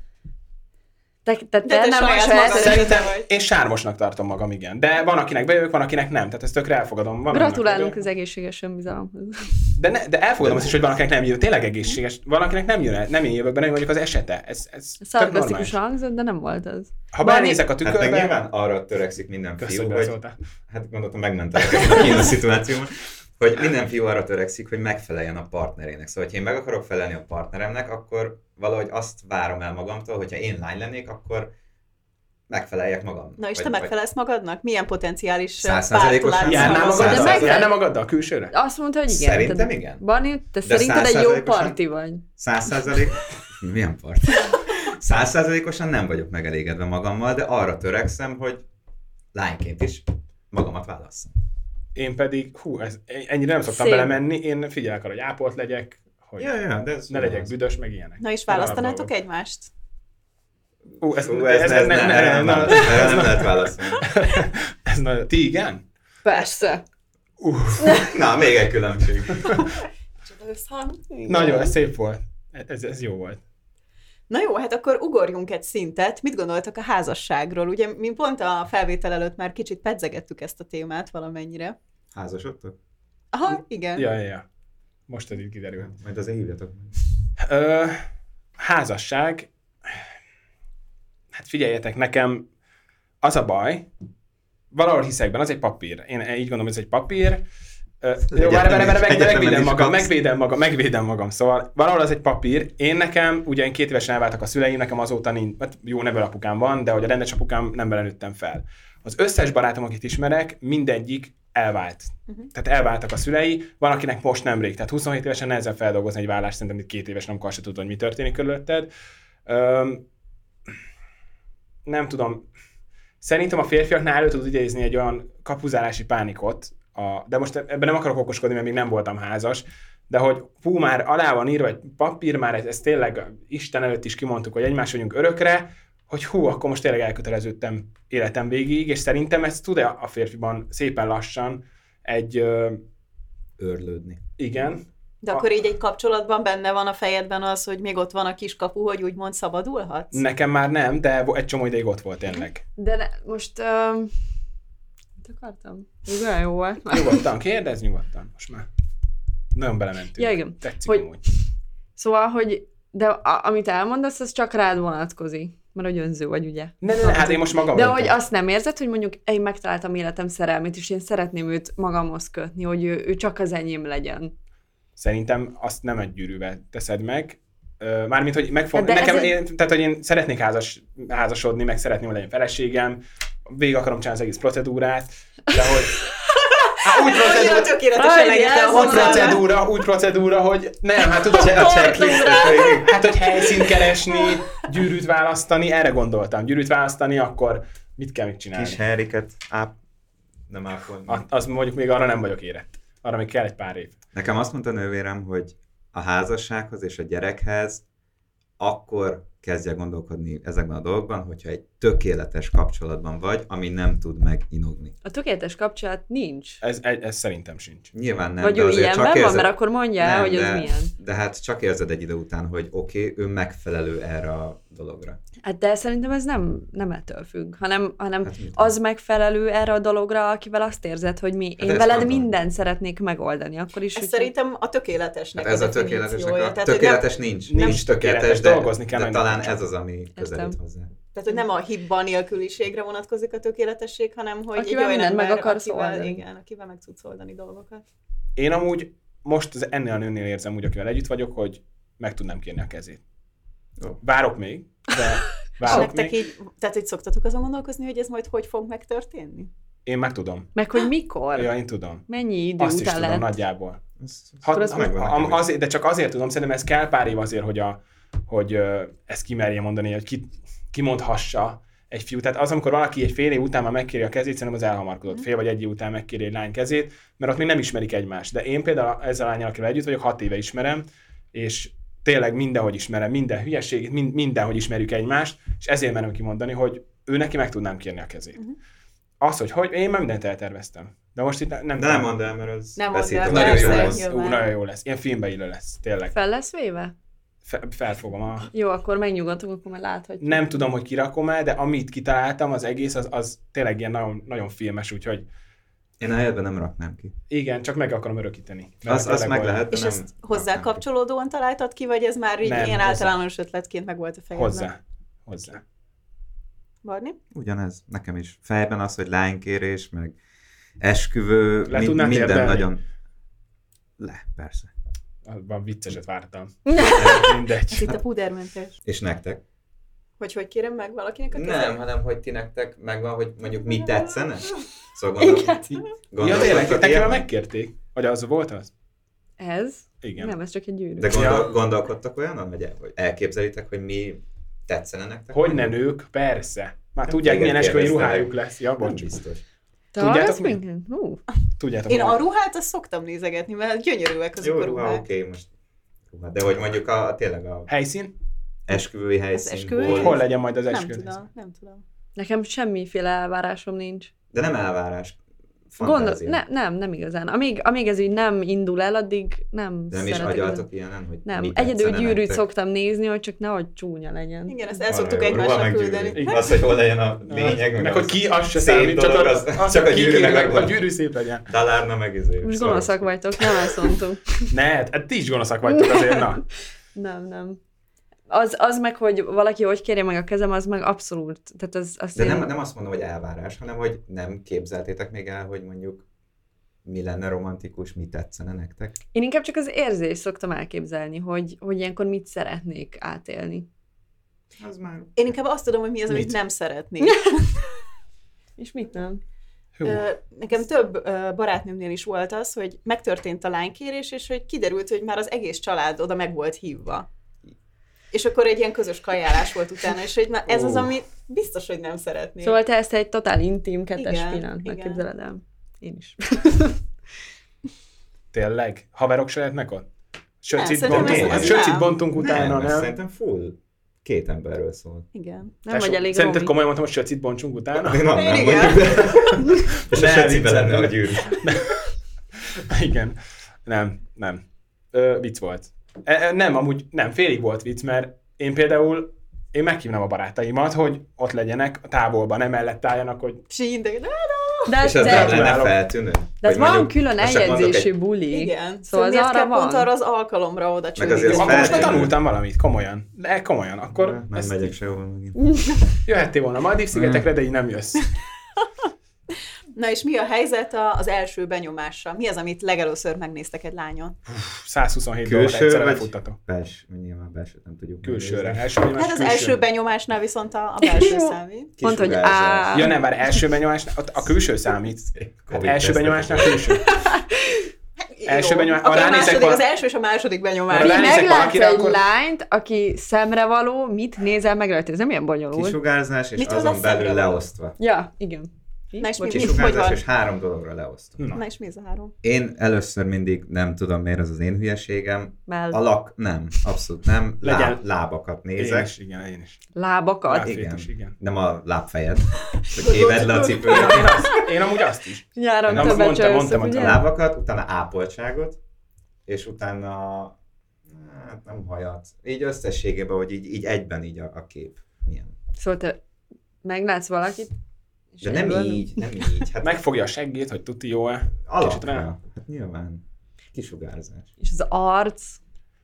Speaker 2: Te, te, te,
Speaker 1: De te
Speaker 2: nem a
Speaker 1: saját
Speaker 2: saját
Speaker 1: magad.
Speaker 2: eseted.
Speaker 4: Szerintem
Speaker 1: vagy.
Speaker 4: én sármosnak tartom magam, igen. De van, akinek bejövök, van, akinek nem. Tehát ezt tökre elfogadom. Van,
Speaker 2: Gratulálunk
Speaker 4: annak-
Speaker 2: az egészséges önbizalomhoz.
Speaker 4: De, ne, de elfogadom azt is, hogy van, akinek nem jön. Tényleg egészséges. Van, akinek nem jön el. Nem én jövök be, nem én vagyok az esete. Ez, ez tök normális.
Speaker 2: Szarkasztikus hangzott, de nem volt az.
Speaker 4: Ha
Speaker 2: Bani-
Speaker 4: belenézek a
Speaker 3: Hát meg
Speaker 4: tükörbe...
Speaker 3: nyilván arra törekszik minden
Speaker 4: Kösz,
Speaker 3: fiú,
Speaker 4: hogy
Speaker 3: hogy
Speaker 4: beleszóltál.
Speaker 3: hát gondoltam megmentelek ebben a kínos szituációban, hogy minden fiú arra törekszik, hogy megfeleljen a partnerének. Szóval, ha én meg akarok felelni a partneremnek, akkor valahogy azt várom el magamtól, hogyha én lány lennék, akkor megfeleljek magamnak.
Speaker 1: Na és
Speaker 3: Vagy-
Speaker 1: te
Speaker 3: vagy-
Speaker 1: megfelelsz magadnak? Milyen potenciális eh,
Speaker 3: Százszázalékosan?
Speaker 1: párt látsz
Speaker 4: Járnál
Speaker 1: magad?
Speaker 3: Száz
Speaker 4: magaddal?
Speaker 2: százalék.
Speaker 4: Járnál magaddal külsőre?
Speaker 2: Azt mondta, hogy igen.
Speaker 3: Szerintem
Speaker 2: Tehát,
Speaker 3: igen.
Speaker 2: Bani, te szerinted egy jó
Speaker 3: százszázalékosan?
Speaker 2: parti vagy.
Speaker 3: Száz százalék... Milyen part? Száz százalékosan nem vagyok megelégedve magammal, de arra törekszem, hogy lányként is magamat válasszam.
Speaker 4: Én pedig, hú, ez, e- ennyire nem szoktam
Speaker 2: Szép.
Speaker 4: belemenni. Én figyelek arra, hogy ápolt legyek, hogy
Speaker 3: Ja, ja, de ez
Speaker 4: ne legyek büdös, meg ilyenek.
Speaker 1: Na és
Speaker 4: Arra
Speaker 1: választanátok
Speaker 4: dolgok.
Speaker 1: egymást?
Speaker 4: Ú, ez,
Speaker 3: Fú, Szóval ez, ez, ez, nem, erre nem,
Speaker 4: na-
Speaker 3: válasz- erre nem lehet válaszolni.
Speaker 4: ez na- Ti igen?
Speaker 2: Persze.
Speaker 4: Uff,
Speaker 3: Na, még egy különbség.
Speaker 4: nagyon, ez szép volt. Ez, ez jó volt.
Speaker 1: Na jó, hát akkor ugorjunk egy szintet. Mit gondoltak a házasságról? Ugye mi pont a felvétel előtt már kicsit pedzegettük ezt a témát valamennyire.
Speaker 3: Házasodtok?
Speaker 4: Hm.
Speaker 1: Aha, igen.
Speaker 4: Ja, ja, ja. Most ez így kiderül.
Speaker 3: Majd azért hívjatok.
Speaker 4: Ö, házasság. Hát figyeljetek, nekem az a baj, valahol hiszek benne, az egy papír. Én így gondolom, ez egy papír. Ö, Jó,
Speaker 3: egyetemen
Speaker 4: várj, várj, várj,
Speaker 3: is-
Speaker 4: meg,
Speaker 3: egyetemen
Speaker 4: megvédem
Speaker 3: is
Speaker 4: magam,
Speaker 3: kapsz.
Speaker 4: megvédem magam, megvédem magam. Szóval valahol az egy papír. Én nekem, ugye én két évesen elváltak a szüleim, nekem azóta nincs, hát jó nevelapukám van, de hogy a rendes apukám nem vele nőttem fel. Az összes barátom, akit ismerek, mindegyik elvált. Uh-huh. Tehát elváltak a szülei, van, akinek most nemrég, tehát 27 évesen nehezen feldolgozni egy vállást, szerintem itt két éves, amikor azt se tudod, hogy mi történik körülötted. Öm, nem tudom, Szerintem a férfiaknál elő tud idézni egy olyan kapuzálási pánikot, a, de most ebben nem akarok okoskodni, mert még nem voltam házas, de hogy hú, már alá van írva egy papír, már ez, ez tényleg Isten előtt is kimondtuk, hogy egymás vagyunk örökre, hogy hú, akkor most tényleg elköteleződtem életem végig, és szerintem ez tud a férfiban szépen lassan egy, ö,
Speaker 3: Őrlődni.
Speaker 4: igen,
Speaker 1: De akkor így egy kapcsolatban benne van a fejedben az, hogy még ott van a kiskapu, hogy úgymond szabadulhatsz?
Speaker 4: nekem már nem, de egy csomó ideig ott volt tényleg.
Speaker 2: De ne, most... Um, mit akartam? Ez olyan jó volt. Már.
Speaker 4: Nyugodtan, kérdez nyugodtan, most már. Nagyon belementünk.
Speaker 2: Ja, igen.
Speaker 4: Tetszik
Speaker 2: Hogy-
Speaker 4: hogy... amúgy.
Speaker 2: Szóval, hogy... De a, amit elmondasz, az csak rád vonatkozik. Mert hogy önző vagy, ugye?
Speaker 4: Ne, ne, ne, hát én most magam
Speaker 2: De hogy azt nem érzed, hogy mondjuk én megtaláltam életem szerelmét, és én szeretném őt magamhoz kötni, hogy ő, ő csak az enyém legyen.
Speaker 4: Szerintem azt nem egy gyűrűvel teszed meg. Ö, Mármint, hogy megfog...
Speaker 2: De ez
Speaker 4: nekem,
Speaker 2: egy-
Speaker 4: én, tehát, hogy én szeretnék házas, házasodni, meg szeretném, hogy legyen feleségem, végig akarom csinálni az egész procedúrát, de hogy... Hát, úgy,
Speaker 1: Annyira
Speaker 4: procedúra,
Speaker 1: tökéletesen
Speaker 2: Ajj,
Speaker 1: megérte a
Speaker 2: jelzem
Speaker 4: úgy
Speaker 1: hozzá.
Speaker 4: procedúra, úgy procedúra, hogy nem, hát tudod,
Speaker 3: A checklistet végig.
Speaker 4: hát, hogy helyszínt keresni, gyűrűt választani, erre gondoltam. Gyűrűt választani, akkor mit kell még csinálni?
Speaker 3: Kis Henriket áp... Nem ápolni.
Speaker 4: A- Az mondjuk még arra nem vagyok érett. Arra még kell egy pár év.
Speaker 3: Nekem azt mondta nővérem, hogy a házassághoz és a gyerekhez akkor kezdj el gondolkodni ezekben a dolgokban, hogyha egy tökéletes kapcsolatban vagy, ami nem tud meginogni.
Speaker 2: A tökéletes kapcsolat nincs.
Speaker 4: Ez, ez szerintem sincs.
Speaker 3: Nyilván nem,
Speaker 2: Nem, Vagy
Speaker 3: de
Speaker 2: ő
Speaker 3: azért
Speaker 2: ilyenben
Speaker 3: csak
Speaker 2: érzed... van,
Speaker 3: érzed...
Speaker 2: mert akkor mondja el,
Speaker 3: Nem,
Speaker 2: hogy
Speaker 3: de,
Speaker 2: ez milyen.
Speaker 3: De hát csak érzed egy idő után, hogy oké, okay, ő megfelelő erre a dologra.
Speaker 2: Hát de szerintem ez nem, nem ettől függ, hanem, hanem
Speaker 3: Hát mit?
Speaker 2: az megfelelő erre a dologra, akivel azt érzed, hogy mi,
Speaker 4: Hát
Speaker 2: én
Speaker 3: ezt
Speaker 2: veled
Speaker 3: mondom.
Speaker 2: mindent szeretnék megoldani, akkor is.
Speaker 1: Ez
Speaker 2: hogy-
Speaker 1: szerintem a tökéletesnek
Speaker 3: Hát ez a
Speaker 1: definíciója.
Speaker 3: tökéletesnek a...
Speaker 1: Tehát, hogy nem,
Speaker 3: Tökéletes nincs.
Speaker 4: nem-
Speaker 3: Nincs tökéletes,
Speaker 4: tökéletes,
Speaker 3: de,
Speaker 4: dolgozni kell
Speaker 3: de
Speaker 4: rajta.
Speaker 3: talán ez az, ami közelít hozzá.
Speaker 1: tehát, hogy nem a hibba nélküliségre vonatkozik a tökéletesség, hanem hogy
Speaker 2: Akivel
Speaker 1: egy olyan
Speaker 2: mindent meg
Speaker 1: ember,
Speaker 2: akarsz
Speaker 1: akivel,
Speaker 2: oldani.
Speaker 1: Igen, akivel meg tudsz oldani dolgokat.
Speaker 4: Én amúgy most az ennél a nőnél érzem úgy, akivel együtt vagyok, hogy meg tudnám kérni a kezét.
Speaker 3: Jó.
Speaker 4: Várok még, de
Speaker 1: És
Speaker 4: várok
Speaker 1: nektek
Speaker 4: még.
Speaker 1: így, tehát hogy szoktatok azon gondolkozni, hogy ez majd hogy fog megtörténni?
Speaker 4: Én meg tudom.
Speaker 2: Meg hogy mikor?
Speaker 4: Ja, én tudom.
Speaker 2: Mennyi idő
Speaker 4: Azt is
Speaker 2: után
Speaker 4: tudom
Speaker 2: lehet?
Speaker 4: nagyjából.
Speaker 3: Ez, ez
Speaker 4: Hat,
Speaker 3: ez megvan nekem
Speaker 4: am,
Speaker 3: is.
Speaker 4: azért, de csak azért tudom, szerintem ez kell pár év azért, hogy, a, hogy ö, ezt kimerje mondani, hogy ki, kimondhassa egy fiú. Tehát az, amikor valaki egy fél év után már megkéri a kezét, szerintem az elhamarkodott.
Speaker 3: Mhm.
Speaker 4: Fél vagy egy év után megkéri egy lány kezét, mert ott még nem ismerik egymást. De én például ezzel a lányjal, akivel együtt vagyok, hat éve ismerem, és tényleg mindenhogy ismerem, minden hülyeségét, mind, mindenhogy ismerjük egymást, és ezért merem kimondani, hogy ő neki meg tudnám kérni a kezét.
Speaker 3: Mhm.
Speaker 4: Az, hogy, hogy én már mindent elterveztem. De most itt ne- nem...
Speaker 3: De nem mondd el, mert az
Speaker 1: Nem mondd
Speaker 3: beszéd,
Speaker 1: el,
Speaker 3: nagyon
Speaker 1: persze,
Speaker 3: jó
Speaker 1: jó.
Speaker 3: lesz.
Speaker 4: lesz. Ú, nagyon jó lesz. Ilyen filmbe illő lesz, tényleg.
Speaker 2: Fel lesz véve?
Speaker 4: Fe, felfogom a...
Speaker 2: Jó, akkor megnyugodtunk, akkor már láthatjuk.
Speaker 4: Nem tudom, hogy kirakom el, de amit kitaláltam, az egész, az, az tényleg ilyen nagyon, nagyon filmes, úgyhogy
Speaker 3: Én a helyetben nem raknám ki.
Speaker 4: igen, csak meg akarom örökíteni. Mert
Speaker 3: Azt, azt
Speaker 4: tényleg
Speaker 3: meg
Speaker 4: olyan-
Speaker 3: lehet, de
Speaker 1: És
Speaker 3: nem
Speaker 1: ezt hozzá
Speaker 3: raknám ki.
Speaker 1: kapcsolódóan találtad ki, vagy ez már így
Speaker 4: Nem,
Speaker 1: ilyen
Speaker 4: hozzá.
Speaker 1: általános ötletként meg volt a fejedben?
Speaker 4: Hozzá. Hozzá.
Speaker 1: Barni?
Speaker 3: Ugyanez, nekem is. Fejben az, hogy lánykérés, meg esküvő,
Speaker 4: Le
Speaker 3: mi-
Speaker 4: tudnád
Speaker 3: minden
Speaker 4: érdelni?
Speaker 3: nagyon... Le, persze.
Speaker 4: Abban vicceset vártam. Mindegy.
Speaker 1: Ez itt a pudermentes.
Speaker 3: És nektek?
Speaker 1: Hogy hogy kérem meg valakinek a kezét?
Speaker 3: Nem, hanem hogy ti nektek megvan, hogy mondjuk mi tetszene? Szóval gondolom,
Speaker 4: Ja, tényleg,
Speaker 3: gondolkoztatok
Speaker 4: nekem már
Speaker 3: ilyen?
Speaker 4: megkérték. Vagy az volt az?
Speaker 2: Ez?
Speaker 4: Igen.
Speaker 2: Nem, ez csak egy gyűrű.
Speaker 3: De
Speaker 4: Ja.
Speaker 3: gondol, gondolkodtak olyan, hogy el- hogy elképzelitek, hogy mi tetszene nektek?
Speaker 4: Hogy ne nők? Persze. Már tudják,
Speaker 3: Igen,
Speaker 4: milyen esküvői
Speaker 3: kérdeztelek.
Speaker 4: ruhájuk lesz. Ja,
Speaker 3: Nem
Speaker 4: bocs.
Speaker 3: biztos.
Speaker 2: Te
Speaker 4: Tudjátok
Speaker 2: hallgatsz
Speaker 4: mi?
Speaker 2: minket? Hú.
Speaker 4: Tudjátok.
Speaker 1: Én
Speaker 4: hogy-
Speaker 1: a ruhát azt szoktam nézegetni, mert gyönyörűek azok
Speaker 3: Jó,
Speaker 1: a
Speaker 3: ruha,
Speaker 1: ruhák.
Speaker 3: oké, most ruha. De hogy mondjuk a, a tényleg a
Speaker 4: Helyszín?
Speaker 3: esküvői helyszín.
Speaker 1: esküvői
Speaker 3: hol-
Speaker 1: Hol-
Speaker 4: Hol legyen majd az
Speaker 1: Nem
Speaker 4: esküvő?
Speaker 1: tudom, nem tudom.
Speaker 2: Nekem semmiféle elvárásom nincs.
Speaker 3: De nem elvárás.
Speaker 2: Gondol,
Speaker 3: Fantázia.
Speaker 2: ne, nem, nem igazán. Amíg, amíg ez így nem indul el, addig nem
Speaker 3: De nem is
Speaker 2: szeretek
Speaker 3: agyaltok ilyenen, hogy
Speaker 2: Nem,
Speaker 3: mi
Speaker 2: egyedül
Speaker 3: tetszene
Speaker 2: gyűrűt
Speaker 3: nektek?
Speaker 2: szoktam nézni, hogy csak nehogy csúnya legyen.
Speaker 1: Igen, ezt
Speaker 3: Van
Speaker 1: el szoktuk
Speaker 3: jó, ruha
Speaker 1: egymásra
Speaker 3: meg gyűrű.
Speaker 1: küldeni.
Speaker 3: Az, hogy hol legyen a lényeg,
Speaker 4: meg
Speaker 3: meg
Speaker 4: hogy
Speaker 3: az
Speaker 4: ki, az se
Speaker 3: szép
Speaker 4: számít, csak,
Speaker 3: dolog,
Speaker 4: az, az, csak a gyűrű, meg, a gyűrű szép legyen.
Speaker 3: Dalárna meg izé.
Speaker 2: Most
Speaker 3: szoros.
Speaker 2: gonoszak vagytok, nem elszontunk.
Speaker 4: Ne, hát ti is gonoszak vagytok azért, na.
Speaker 2: Nem, nem. Az, az meg, hogy valaki hogy kérje meg a kezem, az meg abszolút. Tehát az, az
Speaker 3: De nem, nem azt mondom, hogy elvárás, hanem hogy nem képzeltétek még el, hogy mondjuk mi lenne romantikus, mi tetszene nektek.
Speaker 2: Én inkább csak az érzést szoktam elképzelni, hogy, hogy ilyenkor mit szeretnék átélni.
Speaker 3: Az már...
Speaker 1: Én inkább azt tudom, hogy mi az, amit
Speaker 4: Mit?
Speaker 1: nem szeretnék.
Speaker 2: És mit nem?
Speaker 4: Hú,
Speaker 1: Ö, Nekem több ö, barátnőmnél is volt az, hogy megtörtént a lánykérés, és hogy kiderült, hogy már az egész család oda meg volt hívva. És akkor egy ilyen közös kajálás volt utána, és hogy na ez az,
Speaker 4: Ó.
Speaker 1: ami biztos, hogy nem szeretnék.
Speaker 2: Szóval te ezt egy totál intim, kettes
Speaker 1: Igen,
Speaker 2: pillanatnak
Speaker 1: igen.
Speaker 2: képzeled el. Én is.
Speaker 4: tényleg? Haverok se lehetnek ott?
Speaker 1: Nem,
Speaker 4: Söcit
Speaker 1: szerintem
Speaker 4: bontunk,
Speaker 3: ez-
Speaker 4: hát
Speaker 3: ez
Speaker 4: söcit
Speaker 1: nem.
Speaker 4: bontunk utána,
Speaker 3: nem, ez
Speaker 4: nem?
Speaker 3: szerintem full két emberről szól.
Speaker 1: Igen.
Speaker 2: Nem vagy
Speaker 4: Tesó,
Speaker 2: elég
Speaker 4: Szerinted
Speaker 2: romi.
Speaker 4: komolyan mondtam, hogy söcit bontsunk utána?
Speaker 3: Még nem,
Speaker 1: Én
Speaker 3: nem
Speaker 1: igen.
Speaker 3: mondjuk, de... És a
Speaker 4: Ne,
Speaker 3: secibe lenne a
Speaker 4: viccelek.
Speaker 3: gyűrű.
Speaker 4: Igen. Nem, nem. Ö, vicc volt. E, e, nem, amúgy nem, félig volt vicc, mert én például én meghívnám a barátaimat, hogy ott legyenek a távolban, nem mellett álljanak, hogy
Speaker 1: És így de, de,
Speaker 2: Hát De,
Speaker 3: És ez
Speaker 2: de,
Speaker 3: nem lenne
Speaker 4: Gratulálok.
Speaker 3: feltűnő.
Speaker 2: de
Speaker 3: Vagy
Speaker 2: hát van
Speaker 3: mondjuk-
Speaker 2: külön
Speaker 3: most csak mondok
Speaker 2: eljegyzési
Speaker 3: egy-
Speaker 2: buli.
Speaker 1: igen.
Speaker 2: Szóval az
Speaker 1: miért
Speaker 2: arra
Speaker 1: kell pont arra
Speaker 2: van.
Speaker 1: az alkalomra oda
Speaker 3: Meg azért
Speaker 4: akkor
Speaker 1: csúrni?
Speaker 4: most már
Speaker 3: feltűnő.
Speaker 4: tanultam valamit, komolyan. De komolyan, akkor
Speaker 3: Nem
Speaker 4: ezt
Speaker 3: megyek sehova megint.
Speaker 4: Jöhettél volna Maldív szigetekre, de így nem jössz.
Speaker 1: Na és mi a helyzet a- az első benyomással? Mi az, amit legelőször megnéztek egy lányon?
Speaker 4: 127 dolgot
Speaker 3: Külső
Speaker 4: egyszerre
Speaker 3: vagy-
Speaker 4: lefuttatom.
Speaker 3: Bels, nyilván belsőt nem tudjuk.
Speaker 4: Külsőre.
Speaker 3: megnézni.
Speaker 4: Első benyomás,
Speaker 1: Hát az
Speaker 4: külső.
Speaker 1: első benyomásnál viszont a, a belső
Speaker 2: Jó.
Speaker 1: számít.
Speaker 2: Pont, hogy
Speaker 3: Kisugárzás.
Speaker 2: á.
Speaker 4: Ja nem, már első benyomásnál, ott a külső számít. Hát
Speaker 3: Covid
Speaker 4: első
Speaker 3: tesztek.
Speaker 4: benyomásnál külső. Első
Speaker 1: Jó.
Speaker 4: benyomás-
Speaker 1: Akkor
Speaker 4: ha
Speaker 1: a
Speaker 4: ránézek
Speaker 1: második, az e-
Speaker 4: vala-
Speaker 1: első és a második
Speaker 4: Ha
Speaker 1: benyomás.
Speaker 4: rá- ránézek
Speaker 2: Meglátsz egy
Speaker 4: valakire,
Speaker 2: akkor...
Speaker 4: akkor-
Speaker 2: lányt, aki szemre való, mit nézel meg rajta? Ez nem ilyen bonyolult.
Speaker 3: Kisugárzás, és
Speaker 1: Mit hoz a
Speaker 3: azon belül
Speaker 1: szemre?
Speaker 3: leosztva.
Speaker 2: Ja, igen. Mi?
Speaker 1: Na és mi-
Speaker 2: Bocs,
Speaker 1: mi- hogy
Speaker 3: Kisugárzás,
Speaker 1: van?
Speaker 3: és három dologra leosztva.
Speaker 4: Na.
Speaker 1: Na és mi ez a három?
Speaker 3: Én először mindig nem tudom, miért ez az én hülyeségem.
Speaker 2: Mell.
Speaker 3: A lak, nem, abszolút nem.
Speaker 4: Legyen.
Speaker 3: Láb, lábakat
Speaker 4: Én
Speaker 3: nézek.
Speaker 4: is, igen, én is.
Speaker 2: Lábakat.
Speaker 4: Láb.
Speaker 3: Igen.
Speaker 4: Fétus, igen.
Speaker 3: Nem a lábfejed. Hogy éved le a
Speaker 4: Én,
Speaker 3: cipőt.
Speaker 4: én, azt, én amúgy azt is.
Speaker 2: Nyáron
Speaker 4: Nem, azt
Speaker 2: többet
Speaker 4: mondtam, mondtam,
Speaker 2: csajszok,
Speaker 4: hogy
Speaker 2: ugye?
Speaker 3: A lábakat, utána ápoltságot, és utána hát nem hajat. Így összességében, hogy így, így egyben így a, a kép. Milyen.
Speaker 2: Szóval te meglátsz valakit, és
Speaker 3: De nem
Speaker 2: egyből-
Speaker 3: így, nem így. Hát
Speaker 4: Megfogja a seggét, hogy tuti jó-e. Kicsit
Speaker 3: alapra.
Speaker 4: rá.
Speaker 3: Hát nyilván. Kisugárzás.
Speaker 2: És az arc.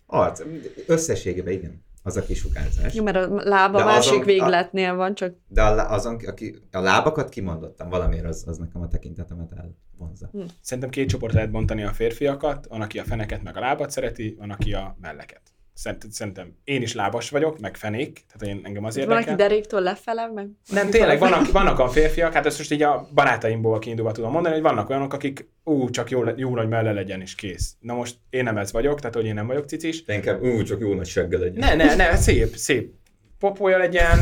Speaker 3: Arc. Összességében igen. Az a kisugárzás.
Speaker 2: Jó, mert a lába
Speaker 3: De
Speaker 2: másik
Speaker 3: azon- a-
Speaker 2: végletnél van, csak
Speaker 3: De a, lá- azon, aki, a lábakat kimondottam, valamiért az, az nekem a tekintetemet elvonza.
Speaker 2: Hm.
Speaker 4: Szerintem két csoport lehet bontani a férfiakat, van, aki a feneket meg a lábat szereti, van, aki a melleket. Szerint- Szerintem én is lábas vagyok, meg fenék, tehát én, engem az
Speaker 2: Van, aki
Speaker 4: érdekel.
Speaker 2: deréktől lefele, meg...
Speaker 4: Nem, tényleg, vannak, vannak olyan férfiak, hát ezt most így a barátaimból kiindulva tudom mondani, hogy vannak olyanok, akik ú, csak jó, le- jó nagy melle legyen és kész. Na most én nem ez vagyok, tehát hogy én nem vagyok cicis.
Speaker 5: De inkább ú, csak jó nagy seggel legyen.
Speaker 4: Ne, ne, ne, szép, szép popója legyen,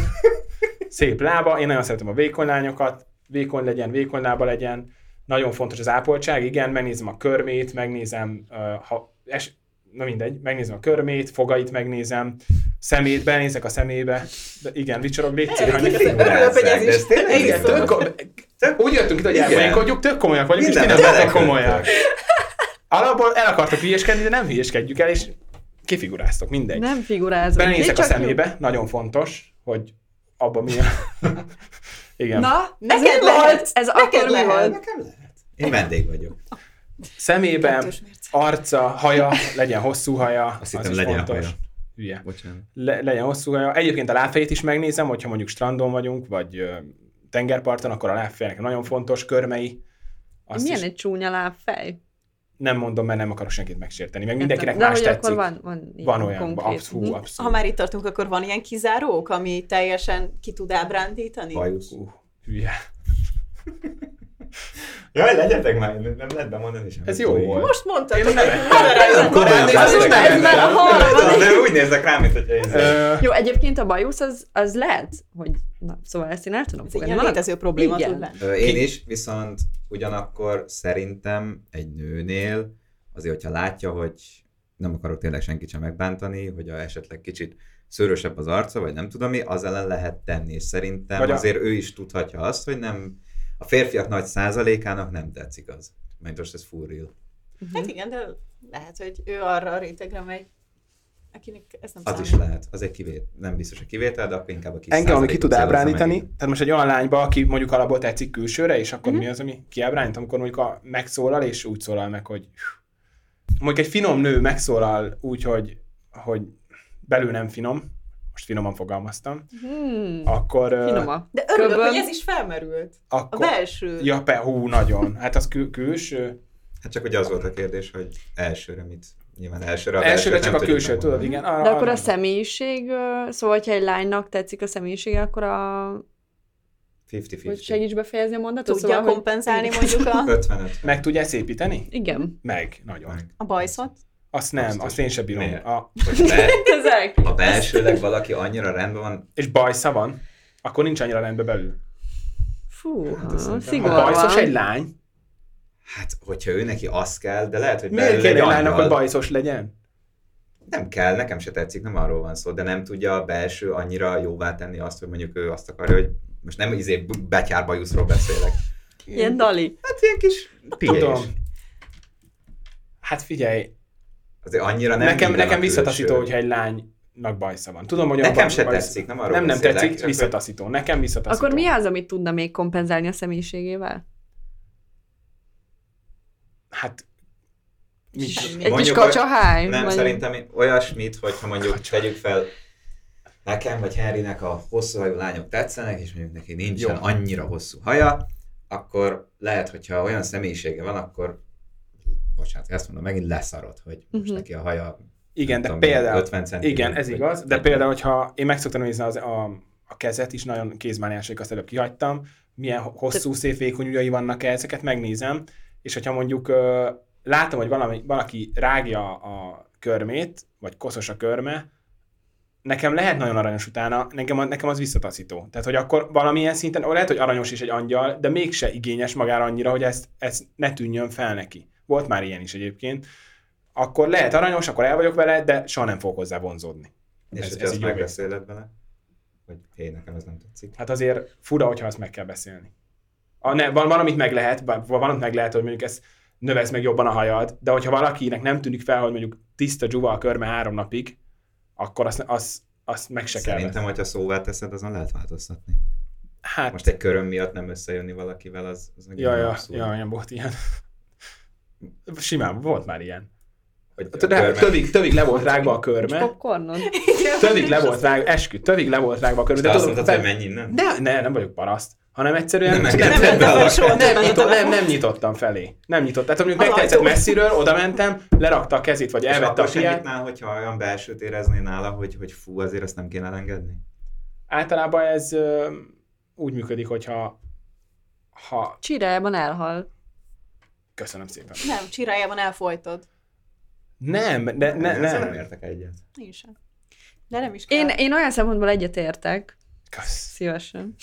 Speaker 4: szép lába, én nagyon szeretem a vékony lányokat, vékony legyen, vékony lába legyen, nagyon fontos az ápoltság, igen, megnézem a körmét, megnézem, ö, ha, es, na mindegy, megnézem a körmét, fogait megnézem, szemét, benézek a szemébe, de igen, vicsorog, légy szíves.
Speaker 1: Örülök, hogy ez
Speaker 3: de
Speaker 1: is.
Speaker 3: ez tényleg
Speaker 1: Igen,
Speaker 3: így
Speaker 4: Igen,
Speaker 3: van.
Speaker 4: tök, kom- tök, úgy jöttünk itt, hogy
Speaker 3: Igen.
Speaker 4: elpoénkodjuk, tök komolyak vagyunk, és ti nem
Speaker 3: Mindenben
Speaker 4: lettek
Speaker 3: belekötünk.
Speaker 4: komolyak. Alapból el akartok hülyeskedni, de nem hülyeskedjük el, és kifiguráztok, mindegy.
Speaker 2: Nem figurázom.
Speaker 4: Belenézek
Speaker 2: Én
Speaker 4: a
Speaker 2: csak
Speaker 4: szemébe, nagyon fontos, hogy abban mi a... Igen. Na.
Speaker 2: Na, ez
Speaker 1: Neked
Speaker 2: mi volt?
Speaker 1: lehet.
Speaker 2: Ez
Speaker 1: Neked
Speaker 2: akkor mi
Speaker 1: lehet.
Speaker 2: volt?
Speaker 3: Nekem lehet. Én vendég vagyok.
Speaker 4: Szemében,
Speaker 1: Kettős mérce.
Speaker 4: arca, haja, legyen hosszú haja.
Speaker 3: Azt hittem, legyen haja.
Speaker 4: Hülye.
Speaker 3: Bocsánat.
Speaker 4: Le, legyen hosszú haja. Egyébként a lábfejét is megnézem, hogyha mondjuk strandon vagyunk, vagy ö, tengerparton, akkor a lábfejnek nagyon fontos körmei. Azt
Speaker 2: Milyen
Speaker 4: is
Speaker 2: egy csúnya lábfej?
Speaker 4: nem mondom, mert nem akarok senkit megsérteni, meg mindenkinek
Speaker 2: De
Speaker 4: más
Speaker 2: hogy
Speaker 4: tetszik.
Speaker 2: akkor van, van, ilyen
Speaker 4: van olyan,
Speaker 2: konkrét.
Speaker 4: absz- hú,
Speaker 2: Mhm.
Speaker 4: abszolút.
Speaker 1: Ha már itt tartunk, akkor van ilyen kizárók, ami teljesen ki tud ábrándítani?
Speaker 3: Bajusz.
Speaker 4: Hú, hülye.
Speaker 3: Jaj, legyetek már, nem lehet bemondani semmit.
Speaker 4: Ez jó volt.
Speaker 1: Most mondtad,
Speaker 4: Én
Speaker 1: hogy
Speaker 4: nem-
Speaker 1: egy madarájat
Speaker 3: Komolyan
Speaker 1: barátnél,
Speaker 3: nem
Speaker 1: az
Speaker 3: vettem.
Speaker 1: nem-
Speaker 2: már a harmadik.
Speaker 3: De úgy nézek rám, mint hogy én
Speaker 4: Ö,
Speaker 2: Jó, egyébként a bajusz az, az lehet, hogy... Na, szóval ezt én el
Speaker 1: Ez
Speaker 2: tudom
Speaker 1: egy
Speaker 2: fogadni.
Speaker 1: ilyen
Speaker 2: Van-
Speaker 1: létező probléma
Speaker 2: Igen.
Speaker 1: tud lenni.
Speaker 3: Ö, Én is, viszont ugyanakkor szerintem egy nőnél azért, hogyha látja, hogy nem akarok tényleg senkit sem megbántani, hogy a esetleg kicsit szőrösebb az arca, vagy nem tudom mi, az ellen lehet tenni, és szerintem
Speaker 4: Vagy
Speaker 3: vagy
Speaker 4: a-
Speaker 3: azért ő is tudhatja azt, hogy nem a férfiak nagy százalékának nem tetszik az. Mert most ez full real.
Speaker 1: Hát igen, de lehet, hogy ő arra a rétegre megy, akinek ez nem
Speaker 3: Az is
Speaker 1: számít.
Speaker 3: lehet. Az egy kivétel. Nem biztos, hogy kivétel, de akkor inkább a kis
Speaker 4: engem, ami ki
Speaker 3: százalékot
Speaker 4: tud
Speaker 3: célozza
Speaker 4: ábrándítani,
Speaker 3: meg.
Speaker 4: tehát most egy olyan lányba, aki mondjuk alapból tetszik külsőre, és
Speaker 2: Mhm.
Speaker 4: akkor mi az, ami kiábránít, amikor mondjuk a megszólal, és úgy szólal meg, hogy mondjuk egy finom nő megszólal úgy, hogy, hogy belül nem finom, most finoman fogalmaztam,
Speaker 2: Hmm,
Speaker 4: akkor... ö,
Speaker 2: Finoma.
Speaker 1: De örülök,
Speaker 2: Köbön.
Speaker 1: hogy ez is felmerült. A
Speaker 4: akkor
Speaker 1: belső.
Speaker 4: ja, pe, hú, nagyon. Hát az kül, külső.
Speaker 3: Hát csak ugye az volt a kérdés, hogy elsőre mit? Nyilván elsőre a
Speaker 4: Elsőre
Speaker 3: belsőt
Speaker 4: csak a
Speaker 3: nem tudjuk
Speaker 4: külső, tudod,
Speaker 3: megmondani.
Speaker 4: igen. Arra,
Speaker 2: De akkor
Speaker 4: arra-
Speaker 2: a személyiség, ö, szóval, hogyha egy lánynak tetszik a személyisége, akkor a... Hogy
Speaker 3: 50-50.
Speaker 2: segíts befejezni a mondatot? szóval,
Speaker 1: Tudja
Speaker 2: hogy-
Speaker 1: kompenzálni mondjuk a,
Speaker 3: 55.
Speaker 4: Meg tudja szépíteni?
Speaker 2: Igen.
Speaker 4: Meg, nagyon.
Speaker 3: Meg.
Speaker 1: a bajszot.
Speaker 4: Azt nem, azt,
Speaker 3: Azt is.
Speaker 4: én sem bírom.
Speaker 3: Miért?
Speaker 4: A,
Speaker 3: Hogy be,
Speaker 2: Ezek.
Speaker 3: ha belsőleg valaki annyira rendben van,
Speaker 4: és bajsza van, akkor nincs annyira rendbe belül.
Speaker 2: Fú,
Speaker 3: Hát azt
Speaker 2: ha,
Speaker 3: szerintem-
Speaker 4: A
Speaker 2: szigorúan.
Speaker 4: bajszos egy lány.
Speaker 3: hát hogyha ő neki az kell, de lehet, hogy
Speaker 4: Miért
Speaker 3: belül
Speaker 4: kéne egy
Speaker 3: egy
Speaker 4: lánynak,
Speaker 3: angyal.
Speaker 4: hogy bajszos legyen?
Speaker 3: Nem kell, nekem se tetszik, nem arról van szó, de nem tudja a belső annyira jóvá tenni azt, hogy mondjuk ő azt akarja, hogy most nem izé b- betyár bajuszról beszélek.
Speaker 2: Ilyen dali.
Speaker 3: Hát ilyen kis piés.
Speaker 4: Tudom. Hát figyelj,
Speaker 3: Azért annyira nem
Speaker 4: nekem,
Speaker 3: minden a
Speaker 4: nekem
Speaker 3: külső.
Speaker 4: visszataszító, hogyha egy lánynak bajsza van. Tudom, hogy a
Speaker 3: Nekem
Speaker 4: baj-
Speaker 3: se
Speaker 4: bajsz-
Speaker 3: tetszik, nem arról
Speaker 4: Nem, nem
Speaker 3: beszélek,
Speaker 4: tetszik,
Speaker 3: csak
Speaker 4: visszataszító. Nekem visszataszító.
Speaker 2: Akkor mi az, amit tudna még kompenzálni a személyiségével?
Speaker 4: Hát, mi?
Speaker 2: Egy kis
Speaker 3: Mondjuk,
Speaker 2: kacsaháj?
Speaker 3: Nem,
Speaker 2: vagy-
Speaker 3: szerintem olyasmit, hogyha mondjuk tegyük fel nekem vagy Henrynek a hosszú hajú lányok tetszenek, és mondjuk neki nincsen
Speaker 4: Jó.
Speaker 3: Jó. annyira hosszú haja, akkor lehet, hogyha olyan személyisége van, akkor bocsánat, ezt mondom, megint leszarod, hogy most
Speaker 2: Mhm.
Speaker 3: neki a haja
Speaker 4: Igen,
Speaker 3: nem
Speaker 4: de
Speaker 3: tudom én,
Speaker 4: például,
Speaker 3: 50 centi.
Speaker 4: Igen, ez igaz, de például, hogyha én meg szoktam nézni az, a, a kezet is, nagyon kézmániások, azt előbb kihagytam, milyen ho- hosszú, szép vékony ujjai vannak -e, ezeket megnézem, és hogyha mondjuk ö, látom, hogy valami, valaki rágja a körmét, vagy koszos a körme, nekem lehet nagyon aranyos utána, nekem, nekem az visszataszító. Tehát, hogy akkor valamilyen szinten, ó, lehet, hogy aranyos is egy angyal, de mégse igényes magára annyira, hogy ezt, ezt ne tűnjön fel neki. Volt már ilyen is egyébként. Akkor lehet aranyos, akkor el vagyok vele, de soha nem fogok hozzá vonzódni.
Speaker 3: És
Speaker 4: ez-
Speaker 3: hogyha
Speaker 4: ez
Speaker 3: azt
Speaker 4: így jó
Speaker 3: megbeszéled vele, hogy hé, nekem ez nem tetszik.
Speaker 4: Hát azért fura, hogyha azt meg kell beszélni. A, ne, van, van, amit meg lehet, van, van, amit meg lehet, hogy mondjuk ezt növesz meg jobban a hajad, de hogyha valakinek nem tűnik fel, hogy mondjuk tiszta dzsuva a körme három napig, akkor azt, azt, azt meg se kell.
Speaker 3: Szerintem, hogyha szóvá teszed, azon lehet változtatni.
Speaker 4: Hát,
Speaker 3: Most egy köröm miatt nem összejönni valakivel, az, az meg
Speaker 4: ja, ja,
Speaker 3: abszurd.
Speaker 4: ja, nem volt ilyen. Simán, volt már ilyen.
Speaker 3: Hogy a
Speaker 4: Rá,
Speaker 3: körme-
Speaker 4: tövig, tövig le volt rágva a
Speaker 2: Nincs
Speaker 4: körme,
Speaker 2: popcornod?
Speaker 4: tövig le volt rágva, eskü, tövig le volt rágva a körme.
Speaker 3: De
Speaker 4: De
Speaker 3: azt
Speaker 4: tudod,
Speaker 3: mondtad, hogy
Speaker 4: be,
Speaker 3: menj innen?
Speaker 4: ne, ne, nem vagyok paraszt. hanem egyszerűen
Speaker 3: Nem
Speaker 1: Nem,
Speaker 3: engedted
Speaker 1: nem,
Speaker 3: be
Speaker 1: nem,
Speaker 3: a
Speaker 1: soha
Speaker 4: nem,
Speaker 1: nem,
Speaker 4: nyitottam,
Speaker 1: nem,
Speaker 4: nem, nem nyitottam felé. Nem nyitottam. Tehát
Speaker 1: Az
Speaker 4: mondjuk megtetszett
Speaker 1: ajtó.
Speaker 4: messziről, oda mentem, lerakta a kezét, vagy
Speaker 3: És
Speaker 4: elvette a
Speaker 3: akkor sem
Speaker 4: fiát.
Speaker 3: nyitnál, hogyha olyan belsőt érezné nála, hogy, hogy fú, azért azt nem kéne elengedni?
Speaker 4: Általában ez ö, úgy működik, hogyha ha...
Speaker 2: Csirájában elhal.
Speaker 4: Köszönöm szépen.
Speaker 1: nem, csirájában elfolytod.
Speaker 4: Nem, de ne,
Speaker 3: Ezzel
Speaker 4: nem.
Speaker 3: nem értek egyet.
Speaker 1: Én sem. De nem is kell.
Speaker 2: Én, én olyan szempontból egyetértek,
Speaker 4: Kösz.
Speaker 2: szívesen,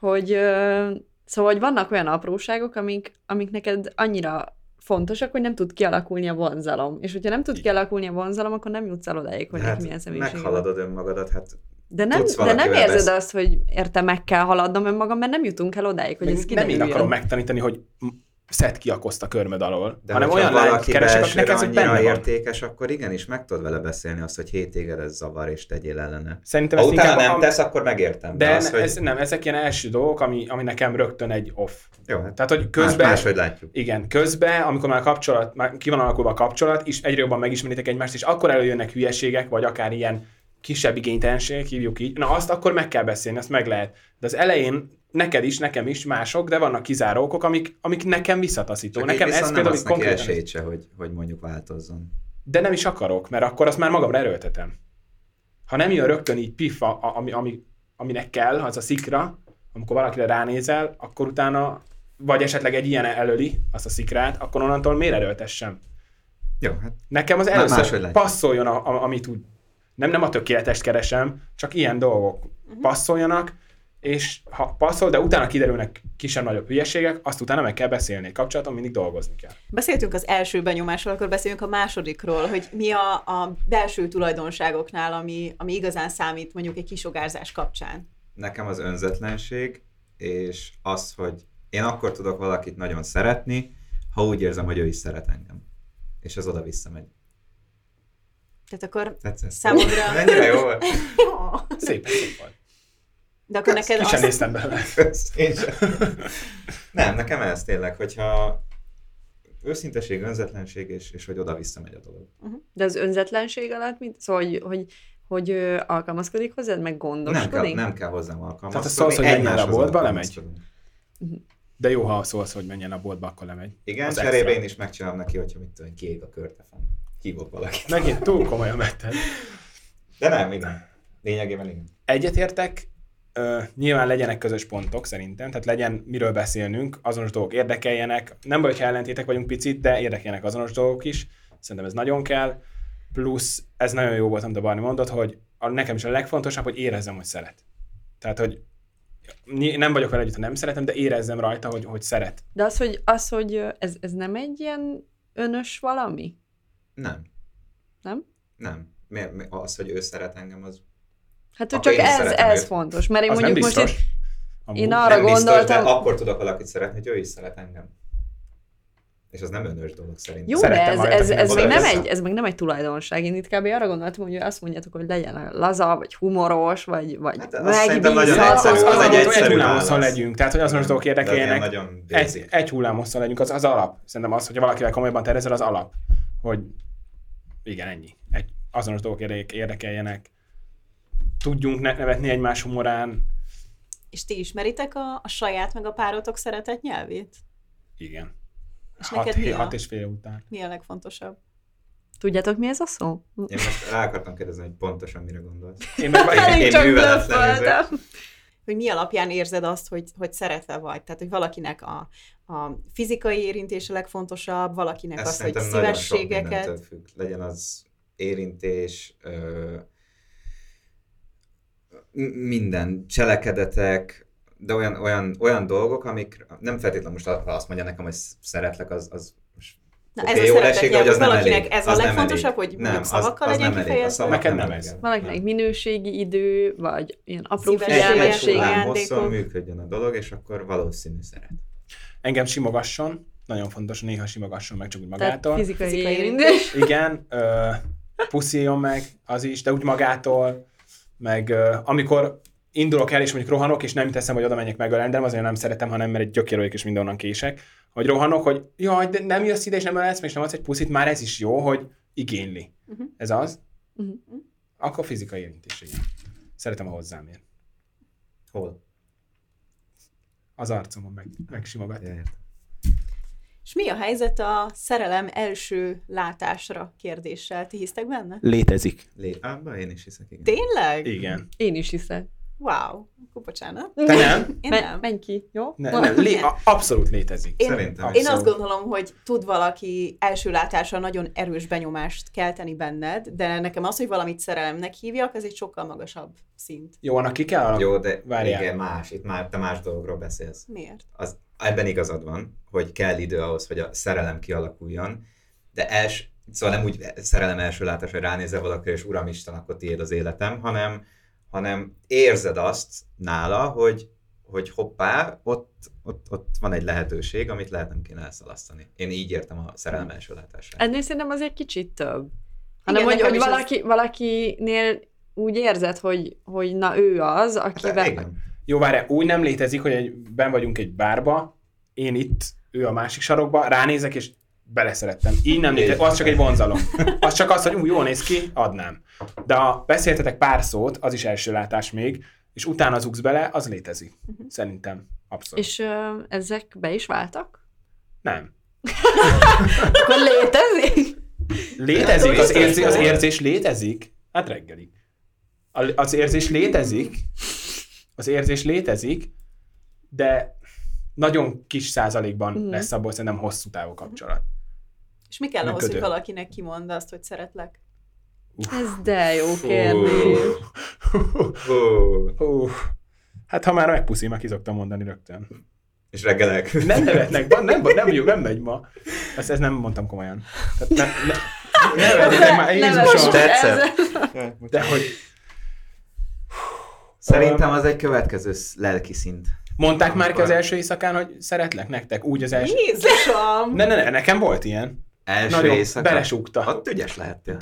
Speaker 2: hogy ö, szóval, hogy vannak olyan apróságok, amik, amik neked annyira fontosak, hogy nem tud kialakulni a vonzalom. És hogyha nem tud kialakulni a vonzalom, akkor nem jutsz el odáig, hogy
Speaker 3: De
Speaker 2: hát, milyen személyiség. van.
Speaker 3: meghaladod önmagadat, hát
Speaker 2: De nem,
Speaker 3: Tudsz
Speaker 2: de nem
Speaker 3: valakivel
Speaker 2: érzed
Speaker 3: beszélni.
Speaker 2: azt, hogy érte meg kell haladnom önmagam, mert nem jutunk el odáig, hogy
Speaker 4: Meg
Speaker 2: ez
Speaker 4: nem én
Speaker 2: kiderüljön.
Speaker 4: akarom megtanítani, hogy m- szedd ki a kozt a körmöd alól,
Speaker 3: de
Speaker 4: hanem
Speaker 3: hogyha
Speaker 4: olyan lányt
Speaker 3: valaki
Speaker 4: keresek, akinek
Speaker 3: belsőre
Speaker 4: ez benne
Speaker 3: annyira
Speaker 4: van.
Speaker 3: értékes, akkor igenis meg tudod vele beszélni azt, hogy hét téged ez zavar, és tegyél ellene.
Speaker 4: Szerintem
Speaker 3: Ha
Speaker 4: ezt
Speaker 3: utána
Speaker 4: inkább...
Speaker 3: nem
Speaker 4: a-
Speaker 3: tesz, akkor megértem.
Speaker 4: de
Speaker 3: az,
Speaker 4: ne-
Speaker 3: hogy...
Speaker 4: ez, nem, ezek ilyen első dolgok, ami, ami nekem rögtön egy off.
Speaker 3: Jó, hát
Speaker 4: Tehát, hogy
Speaker 3: közben...
Speaker 4: közben...
Speaker 3: Más, máshogy látjuk.
Speaker 4: Igen, közben, amikor már a kapcsolat, már ki van alakulva a kapcsolat, és egyre jobban megismeritek egymást, és akkor előjönnek hülyeségek, vagy akár ilyen kisebb igénytelenségek, hívjuk így, na azt akkor meg kell beszélni, azt meg lehet. De az elején neked is, nekem is mások, de vannak kizáró okok, amik, amik nekem visszataszító.
Speaker 3: Csak
Speaker 4: nekem
Speaker 3: így
Speaker 4: ez
Speaker 3: viszont nem
Speaker 4: például
Speaker 3: adsz
Speaker 4: így
Speaker 3: neki
Speaker 4: konkrétan...
Speaker 3: esélyt se, hogy, hogy mondjuk változzon.
Speaker 4: De nem is akarok, mert akkor azt már magamra erőltetem. Ha nem jön rögtön így pif, a, a- ami, ami, aminek kell, az a szikra, amikor valakire ránézel, akkor utána, vagy esetleg egy ilyen elöli azt a szikrát, akkor onnantól miért erőltessem?
Speaker 3: Jó, hát
Speaker 4: Nekem az
Speaker 3: Már máshogy
Speaker 4: először
Speaker 3: látjuk.
Speaker 4: passzoljon, a, a, amit úgy, nem, nem a tökéletest keresem, csak ilyen dolgok passzoljanak, és ha passzol, de utána kiderülnek kisebb-nagyobb hülyeségek, azt utána meg kell beszélni. Egy kapcsolaton mindig dolgozni kell.
Speaker 1: Beszéltünk az első benyomásról, akkor beszéljünk a másodikról, hogy mi a, a belső tulajdonságoknál, ami, ami igazán számít mondjuk egy kisogárzás kapcsán.
Speaker 3: nekem az önzetlenség, és az, hogy én akkor tudok valakit nagyon szeretni, ha úgy érzem, hogy ő is szeret engem. És ez oda visszamegy.
Speaker 1: Tehát akkor...
Speaker 3: Tetszett?
Speaker 1: Számomra-
Speaker 3: Mennyire jó volt?
Speaker 4: Szép, szép volt.
Speaker 1: De akkor neked
Speaker 4: Ki sem
Speaker 1: azt...
Speaker 4: néztem bele.
Speaker 3: Én sem. Nem, nekem ez tényleg, hogyha őszinteség, önzetlenség, és, és hogy oda visszamegy a dolog.
Speaker 2: De az önzetlenség alatt, mint, szóval, hogy, hogy, hogy ö, alkalmazkodik hozzád, meg
Speaker 3: Nem kell,
Speaker 2: gondoskodik?
Speaker 3: nem kell hozzám
Speaker 4: Tehát
Speaker 3: alkalmazkodni.
Speaker 4: az szólsz, hogy menjél a
Speaker 3: egymáshoz
Speaker 4: boltba,
Speaker 3: alkalmazkodunk.
Speaker 4: De jó, ha szólsz, hogy menjen a boltba, akkor lemegy.
Speaker 3: Igen,
Speaker 4: Az
Speaker 3: cserébe
Speaker 4: extra.
Speaker 3: én is megcsinálom neki, hogyha mit tudom, kiég a körtefen. Hívok valakit.
Speaker 4: Megint túl komolyan vetted.
Speaker 3: De nem, igen. Lényegében igen.
Speaker 4: Egyetértek, ö, nyilván legyenek közös pontok szerintem, tehát legyen miről beszélnünk, azonos dolgok érdekeljenek, nem baj, ha ellentétek vagyunk picit, de érdekeljenek azonos dolgok is, szerintem ez nagyon kell, plusz ez nagyon jó volt, amit a Barni mondott, hogy a, nekem is a legfontosabb, hogy érezzem, hogy szeret. Tehát, hogy ny- nem vagyok vele együtt, ha nem szeretem, de érezzem rajta, hogy, hogy szeret.
Speaker 2: De az, hogy, az, hogy ö, ez, ez nem egy ilyen önös valami?
Speaker 3: Nem.
Speaker 2: Nem?
Speaker 3: Nem. Mi, mi, az, hogy ő szeret engem, az
Speaker 2: Hát, hogy
Speaker 3: Akkor
Speaker 2: csak
Speaker 3: én
Speaker 2: ez,
Speaker 3: szeretem
Speaker 2: ez
Speaker 3: őt.
Speaker 2: fontos. Mert én
Speaker 4: az nem
Speaker 2: mondjuk most
Speaker 4: biztos.
Speaker 2: itt,
Speaker 4: Amúgy.
Speaker 2: én arra
Speaker 3: nem
Speaker 2: gondoltam...
Speaker 3: biztos, de akkor tudok valakit szeretni, hogy ő is szeret engem. És az nem önös dolog szerintem.
Speaker 2: Jó, de
Speaker 4: Szerettem
Speaker 2: ez, e-
Speaker 4: magát,
Speaker 2: ez,
Speaker 4: akinek
Speaker 2: ez, még nem
Speaker 3: odaérsz.
Speaker 2: egy, ez még nem egy tulajdonság. Én itt kb. arra gondoltam, hogy azt mondjátok, hogy legyen laza, vagy humoros, vagy, vagy
Speaker 3: Hát
Speaker 2: hát
Speaker 3: azt szerintem nagyon
Speaker 4: Az, az,
Speaker 3: egyszerű.
Speaker 4: az,
Speaker 3: Az egy
Speaker 4: egy
Speaker 3: egyszerű
Speaker 4: hullámoszon
Speaker 3: válasz. izé.
Speaker 4: legyünk, tehát hogy azonos dolgok
Speaker 3: De az ilyen
Speaker 4: érdekeljenek,
Speaker 3: Nagyon
Speaker 4: egy,
Speaker 3: basic.
Speaker 4: egy hullámoszon legyünk, az, az alap. Szerintem az, hogyha valakivel komolyban tervezel, az alap. Hogy igen, ennyi. Egy, azonos dolgok érdek- érdekeljenek, tudjunk ne- nevetni egymás humorán.
Speaker 1: És ti ismeritek a, a saját meg a párotok szeretett nyelvét?
Speaker 4: Igen.
Speaker 1: És
Speaker 4: Hat,
Speaker 1: neked mi
Speaker 4: hé-
Speaker 1: a-
Speaker 4: hat és fél után.
Speaker 1: Mi a legfontosabb?
Speaker 2: Tudjátok, mi ez a szó?
Speaker 3: Én most rá akartam kérdezni, hogy pontosan mire gondolsz.
Speaker 2: Hát
Speaker 4: Én meg
Speaker 3: Elég
Speaker 2: Elég
Speaker 3: én
Speaker 2: csak
Speaker 3: műveletlen
Speaker 2: blöffeltem.
Speaker 1: Hogy mi alapján érzed azt, hogy, hogy szeretve vagy? Tehát, hogy valakinek a, a fizikai érintése legfontosabb, valakinek
Speaker 3: Ez
Speaker 1: az, hogy
Speaker 3: szerintem nagyon sok mindentől
Speaker 1: szívességeket.
Speaker 3: függ. Legyen az érintés, ö, m- minden, cselekedetek, de olyan, olyan, olyan dolgok, amik nem feltétlenül most ha azt mondja nekem, hogy szeretlek, az, az most
Speaker 1: Na,
Speaker 3: oké,
Speaker 1: ez a
Speaker 3: jól
Speaker 1: szeretett
Speaker 3: esik, de
Speaker 1: nyelv,
Speaker 3: hogy az nem
Speaker 1: valakinek
Speaker 3: elég.
Speaker 1: ez a
Speaker 3: Az nem
Speaker 1: legfontosabb,
Speaker 3: elég.
Speaker 1: hogy mondjuk szavakkal legyen
Speaker 3: elég. A
Speaker 1: kifejezve?
Speaker 3: szavak
Speaker 4: Neked
Speaker 3: nem
Speaker 4: nem
Speaker 3: elég.
Speaker 4: ez.
Speaker 2: Valakinek minőségi idő, vagy ilyen apró
Speaker 1: Szívességes
Speaker 3: Egy-két
Speaker 1: figyelmesség,
Speaker 2: figyelmesség.
Speaker 3: hullám
Speaker 1: ajándékok.
Speaker 3: hosszon működjön a dolog, és akkor valószínű szeret.
Speaker 4: Engem simogasson, nagyon fontos, néha simogasson meg csak úgy
Speaker 2: Tehát
Speaker 4: magától.
Speaker 2: fizikai,
Speaker 1: Fizikai
Speaker 2: érintés.
Speaker 4: Igen, ö, pusziljon meg az is, de úgy magától, meg ö, amikor indulok el, és mondjuk rohanok, és nem teszem, hogy oda menjek megölelni, de nem azért nem szeretem, hanem mert egy gyökér vagyok, és mindenhonnan kések, hogy rohanok, hogy jaj, de nem jössz ide, és nem ölelsz, meg, és nem adsz egy puszit, már ez is jó, hogy igényli.
Speaker 1: Mhm.
Speaker 4: Ez az?
Speaker 2: Mhm.
Speaker 4: Akkor fizikai érintés, igen. Szeretem, ha hozzám ér.
Speaker 3: Hol?
Speaker 4: az arcomon meg, megsimogat.
Speaker 3: Ja,
Speaker 4: Yeah.
Speaker 3: értem.
Speaker 1: És mi a helyzet a szerelem első látásra kérdéssel? Ti hisztek benne?
Speaker 6: Létezik.
Speaker 3: Lé- Ábba, én is hiszek, igen.
Speaker 1: Tényleg?
Speaker 4: Igen.
Speaker 2: Én is hiszek.
Speaker 1: Wow. Akkor bocsánat.
Speaker 4: Te nem?
Speaker 1: Én
Speaker 2: Me-
Speaker 1: nem.
Speaker 2: Menj ki, jó?
Speaker 4: Ne,
Speaker 2: Van-
Speaker 4: nem, lé- a- abszolút létezik.
Speaker 1: Én,
Speaker 3: Szerintem
Speaker 1: én
Speaker 4: is.
Speaker 1: azt gondolom, hogy tud valaki első látásra nagyon erős benyomást kelteni benned, de nekem az, hogy valamit szerelemnek hívjak, ez egy sokkal magasabb szint.
Speaker 4: Jó, annak ki kell alakul.
Speaker 3: Jó, de
Speaker 4: Várjál.
Speaker 3: igen, más, itt már te más dologról beszélsz.
Speaker 1: Miért?
Speaker 3: az, ebben igazad van, hogy kell idő ahhoz, hogy a szerelem kialakuljon, de els, szóval nem úgy szerelem első látás, hogy ránézel valakire, és uramisten, akkor tiéd az életem, hanem, hanem érzed azt nála, hogy, hogy hoppá, ott, ott, ott van egy lehetőség, amit lehet nem kéne elszalasztani. Én így értem a szerelem első látását.
Speaker 2: Ennél szerintem az egy kicsit több. Hanem,
Speaker 1: Igen,
Speaker 2: hogy,
Speaker 1: nekem
Speaker 2: hogy
Speaker 1: is az-
Speaker 2: valaki, valakinél úgy érzed, hogy, hogy na ő az,
Speaker 3: Hát,
Speaker 2: akivel...
Speaker 3: igen.
Speaker 4: Jó, várjál, úgy nem létezik, hogy egy, ben vagyunk egy bárba, én itt, ő a másik sarokba, ránézek, és beleszerettem. Így nem létezik, az csak egy vonzalom. Az csak az, hogy úgy jól néz ki, adnám. De ha beszéltetek pár szót, az is első látás még, és utána zugsz bele, az létezik. Szerintem. Abszolút. És
Speaker 2: És ö, ezek be is váltak?
Speaker 4: nem.
Speaker 2: Akkor létezik?
Speaker 4: Létezik, az,
Speaker 1: biztos
Speaker 4: érzé, az
Speaker 1: volt.
Speaker 4: érzés létezik? Hát reggelig. A- Az érzés létezik, az érzés létezik, de nagyon kis százalékban
Speaker 2: Mhm.
Speaker 4: lesz abból szerintem hosszú távú kapcsolat.
Speaker 1: És mi kell ahhoz,
Speaker 4: Működő.
Speaker 1: hogy valakinek kimond azt, hogy szeretlek?
Speaker 2: Ez de jó
Speaker 3: Hú.
Speaker 2: kérdés.
Speaker 3: Hú.
Speaker 4: Hú. Hát ha már megpuszil, meg ki szoktam mondani rögtön.
Speaker 3: És reggel elküld.
Speaker 4: Nem nevetnek, van, nem, nem, jó, nem megy ma. Ezt, ezt nem mondtam komolyan. Tehát nem, ne, nevetnek már, Jézusom.
Speaker 2: Nevezzük
Speaker 3: tetszett.
Speaker 2: ezzel.
Speaker 4: De hogy
Speaker 3: Szerintem az egy következő sz- lelki szint.
Speaker 4: mondták már ki az első éjszakán, hogy szeretlek nektek, úgy az első.
Speaker 1: Jézusom!
Speaker 4: Ne, ne, ne, nekem volt ilyen.
Speaker 3: Első
Speaker 4: Nagyon
Speaker 3: éjszaka.
Speaker 4: belesúgta.
Speaker 3: Ott ügyes lehettél.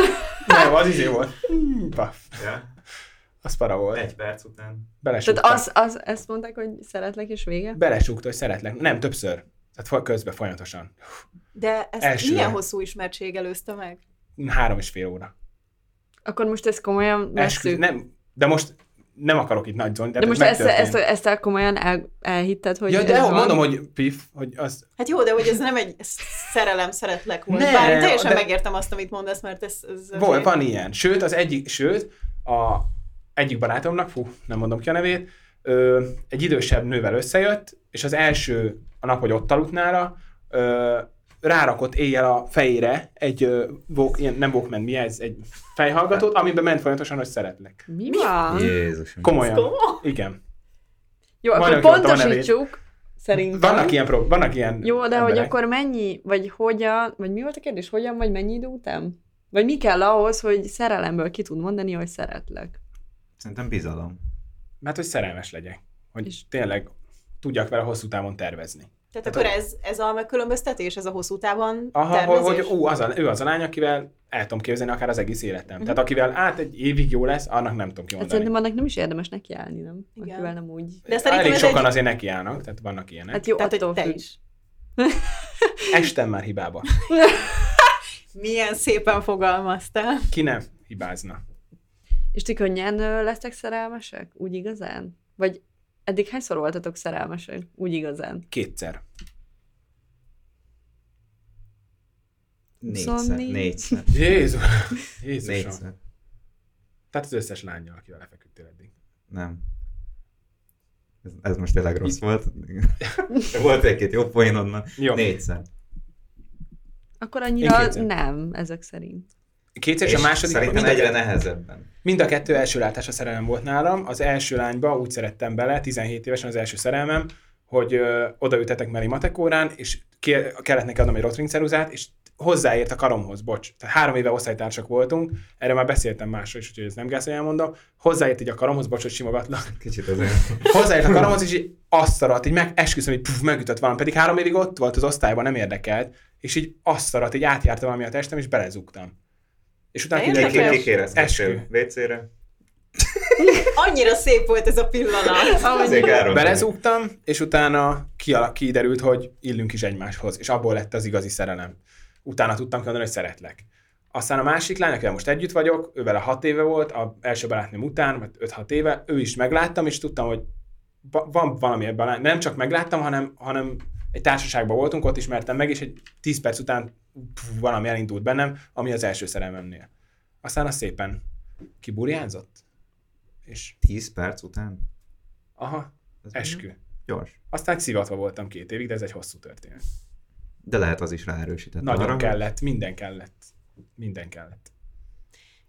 Speaker 4: Nem, az izé volt. Mm, Paf.
Speaker 3: Ja,
Speaker 4: Az para volt.
Speaker 3: egy perc után.
Speaker 4: Belesúgta.
Speaker 2: Tehát az, az, ezt mondták, hogy szeretlek, és vége?
Speaker 4: Belesúgta, hogy szeretlek. Nem, többször. Tehát fo- közben folyamatosan.
Speaker 1: De ezt
Speaker 4: Elsőre.
Speaker 1: milyen hosszú ismertség előzte meg?
Speaker 4: Három és fél óra.
Speaker 2: Akkor most ezt komolyan
Speaker 4: Eskü-
Speaker 2: veszük.
Speaker 4: nem, de most nem akarok itt nagy zony, de,
Speaker 2: De most ezt, ezt,
Speaker 4: megtörtént.
Speaker 2: ezt el komolyan el, elhitted, hogy
Speaker 4: ja, de
Speaker 2: ez
Speaker 4: jó,
Speaker 2: van?
Speaker 4: mondom, hogy pif, hogy az...
Speaker 1: Hát jó, de hogy ez nem egy szerelem, szeretlek volt.
Speaker 4: Ne,
Speaker 1: Ne, Bár én teljesen
Speaker 4: de-
Speaker 1: de... megértem azt, amit mondasz, mert ez... ez
Speaker 4: Volt, van ilyen. Sőt, az egyik, sőt, a egyik barátomnak, fú, nem mondom ki a nevét, ö, egy idősebb nővel összejött, és az első a nap, hogy ott aludt nála, ö, rárakott éjjel a fejére egy, ö, walk, ilyen, nem Walkman, mi ez, egy fejhallgatót, amiben ment folyamatosan, hogy szeretlek.
Speaker 2: Mi van?
Speaker 3: Ah. Jézusom.
Speaker 4: Komolyan.
Speaker 1: Ez komoly?
Speaker 4: Igen.
Speaker 2: Jó, akkor
Speaker 4: Majdnem kimondtam a nevét.
Speaker 2: pontosítsuk. Szerintem.
Speaker 4: Vannak ilyen, prób- vannak ilyen
Speaker 2: Jó, de hogy
Speaker 4: emberek.
Speaker 2: akkor mennyi, vagy hogyan, vagy mi volt a kérdés, hogyan, vagy mennyi idő után? Vagy mi kell ahhoz, hogy szerelemből ki tud mondani, hogy szeretlek?
Speaker 3: Szerintem bizalom.
Speaker 4: Hát, hogy szerelmes legyek. Hogy
Speaker 2: És-
Speaker 4: tényleg tudjak vele hosszú távon tervezni.
Speaker 1: Tehát akkor ez, ez a megkülönböztetés, ez a hosszú távon
Speaker 4: Aha, hogy,
Speaker 1: tervezés?
Speaker 4: hogy ú, az a, ő az a lány, akivel el tudom képzelni akár az egész életem. Tehát akivel át egy évig jó lesz, annak nem tudom
Speaker 2: Hát
Speaker 4: kimondani.
Speaker 2: szerintem annak nem is érdemes nekiállni, nem?
Speaker 1: Igen.
Speaker 2: Akivel nem úgy.
Speaker 1: De szerintem
Speaker 4: Elég
Speaker 1: ez
Speaker 4: sokan
Speaker 1: egy-
Speaker 4: azért nekiállnak, tehát vannak ilyenek. Hát,
Speaker 2: Hát jó,
Speaker 1: Tehát,
Speaker 2: attól
Speaker 1: hogy te
Speaker 2: függ.
Speaker 1: is.
Speaker 4: Estem már hibába.
Speaker 1: Milyen szépen fogalmaztál.
Speaker 4: Ki nem hibázna?
Speaker 2: És ti könnyen ö, lesztek szerelmesek? Úgy igazán? Vagy eddig hányszor voltatok szerelmesek? Úgy igazán?
Speaker 4: Kétszer.
Speaker 3: Négyszer.
Speaker 2: Huszonnégy.
Speaker 3: Négyszer.
Speaker 4: Jézus. Jézusom.
Speaker 3: Négyszer.
Speaker 4: Tehát az összes lányjal, akivel lefeküdtél eddig.
Speaker 3: Nem. Ez, ez most tényleg rossz volt. volt egy-két jó poén onnan.
Speaker 4: Jó.
Speaker 3: Négyszer.
Speaker 2: Akkor
Speaker 4: Én
Speaker 2: annyira
Speaker 4: kétszer.
Speaker 2: nem, ezek szerint.
Speaker 4: Kétszer és, a második.
Speaker 3: szerintem
Speaker 4: mind a-
Speaker 3: egyre nehezebben.
Speaker 4: Mind a kettő első látása szerelem volt nálam. Az első lányba úgy szerettem bele, 17 évesen az első szerelmem, hogy ö, odaültetek mellé matek órán, és kér, kellett neki adnom egy rotringceruzát, és hozzáért a karomhoz, bocs. Tehát három éve osztálytársak voltunk, erre már beszéltem másról is, úgyhogy ez nem gáz, hogy elmondom. Hozzáért így a karomhoz, bocs, hogy simogatlak.
Speaker 3: Kicsit azért.
Speaker 4: Hozzáért a karomhoz, és így azt szarat, így meg, esküszöm, hogy puf, megütött valami, pedig három évig ott volt az osztályban, nem érdekelt, és így azt szarat, így átjárta valami a testem, és belezugtam. És utána
Speaker 1: De
Speaker 4: kiderült,
Speaker 1: érdekes.
Speaker 4: hogy- Eskü.
Speaker 3: Kikéreztettél WC-re.
Speaker 1: Annyira szép volt ez a pillanat.
Speaker 3: Azért káron.
Speaker 4: Belezúgtam, és utána kiala- kiderült, hogy illünk is egymáshoz, és abból lett az igazi szerelem. Utána tudtam kimondani, hogy szeretlek. Aztán a másik lány, akivel most együtt vagyok, ő vele 6 éve volt, a első barátnőm után, vagy 5-6 éve, ő is megláttam, és tudtam, hogy va- van valami ebben, a lány- nem csak megláttam, hanem, hanem egy társaságban voltunk, ott ismertem meg, és egy 10 perc után pff, valami elindult bennem, ami az első szerelmemnél. Aztán az szépen kiburjánzott, és
Speaker 3: 10 perc után?
Speaker 4: aha,
Speaker 3: Ez
Speaker 4: eskü.
Speaker 3: Gyors.
Speaker 4: Aztán szivatva voltam két évig, de ez egy hosszú történet.
Speaker 3: De lehet az is ráerősített.
Speaker 4: Nagyon
Speaker 3: arra, hogy-
Speaker 4: kellett, minden kellett. Minden kellett.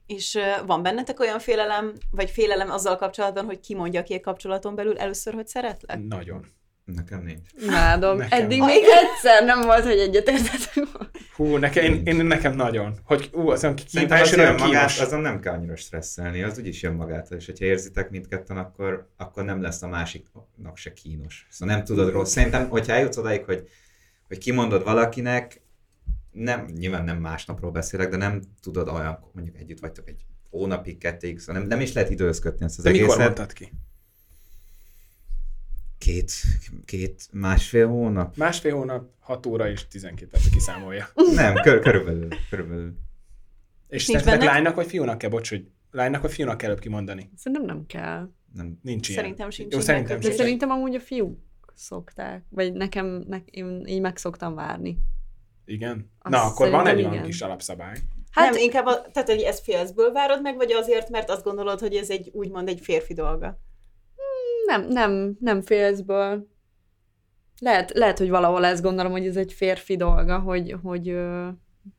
Speaker 1: És ö, van bennetek olyan félelem, vagy félelem azzal kapcsolatban, hogy ki mondja ki egy kapcsolaton belül először, hogy szeretlek?
Speaker 4: Nagyon.
Speaker 3: Nekem nincs.
Speaker 2: Imádom.
Speaker 4: Nekem.
Speaker 2: Eddig még egyszer nem volt, hogy egyetértettünk volna.
Speaker 4: Hú, nekem, én, én, nekem nagyon. Hogy, ú, azt mondom, ki,
Speaker 3: Szerintem az jön
Speaker 4: elsőre
Speaker 3: magát,
Speaker 4: kínos.
Speaker 3: azon nem kell annyira stresszelni, az úgyis jön magától, és hogyha érzitek mindketten, akkor, akkor nem lesz a másiknak se kínos. Szóval nem tudod rossz. Szerintem, hogyha eljutsz odáig, hogy, hogy kimondod valakinek, nem, nyilván nem másnapról beszélek, de nem tudod olyan, mondjuk együtt vagytok egy hónapig, kettéig, szóval nem, nem is lehet időzködni ezt az
Speaker 4: De mikor
Speaker 3: egészet.
Speaker 4: mondtad ki?
Speaker 3: Két, két, másfél hónap?
Speaker 4: Másfél hónap, 6 óra és 12 perc kiszámolja.
Speaker 3: Nem, kör, körülbelül, körülbelül.
Speaker 4: És
Speaker 1: Nincs
Speaker 4: szerinted
Speaker 1: benne?
Speaker 4: lánynak vagy fiúnak kell, bocs, hogy lánynak vagy fiúnak kell előbb kimondani?
Speaker 2: Szerintem nem kell.
Speaker 3: Nem,
Speaker 4: Nincs ilyen.
Speaker 1: Szerintem sincs
Speaker 4: Jó,
Speaker 1: ilyen
Speaker 4: szerintem
Speaker 2: De
Speaker 1: kötés.
Speaker 4: sincs.
Speaker 2: szerintem amúgy a fiúk szokták, vagy nekem, ne, én így meg szoktam várni.
Speaker 4: Igen?
Speaker 2: Azt
Speaker 4: Na, akkor van egy
Speaker 2: szerintem
Speaker 4: olyan
Speaker 2: igen.
Speaker 4: kis alapszabály.
Speaker 1: Hát nem, inkább, a, tehát hogy ezt félszből várod meg, vagy azért, mert azt gondolod, hogy ez egy úgymond egy férfi dolga.
Speaker 2: Nem, nem, nem félszből. Lehet, lehet, hogy valahol ezt gondolom, hogy ez egy férfi dolga, hogy, hogy ö,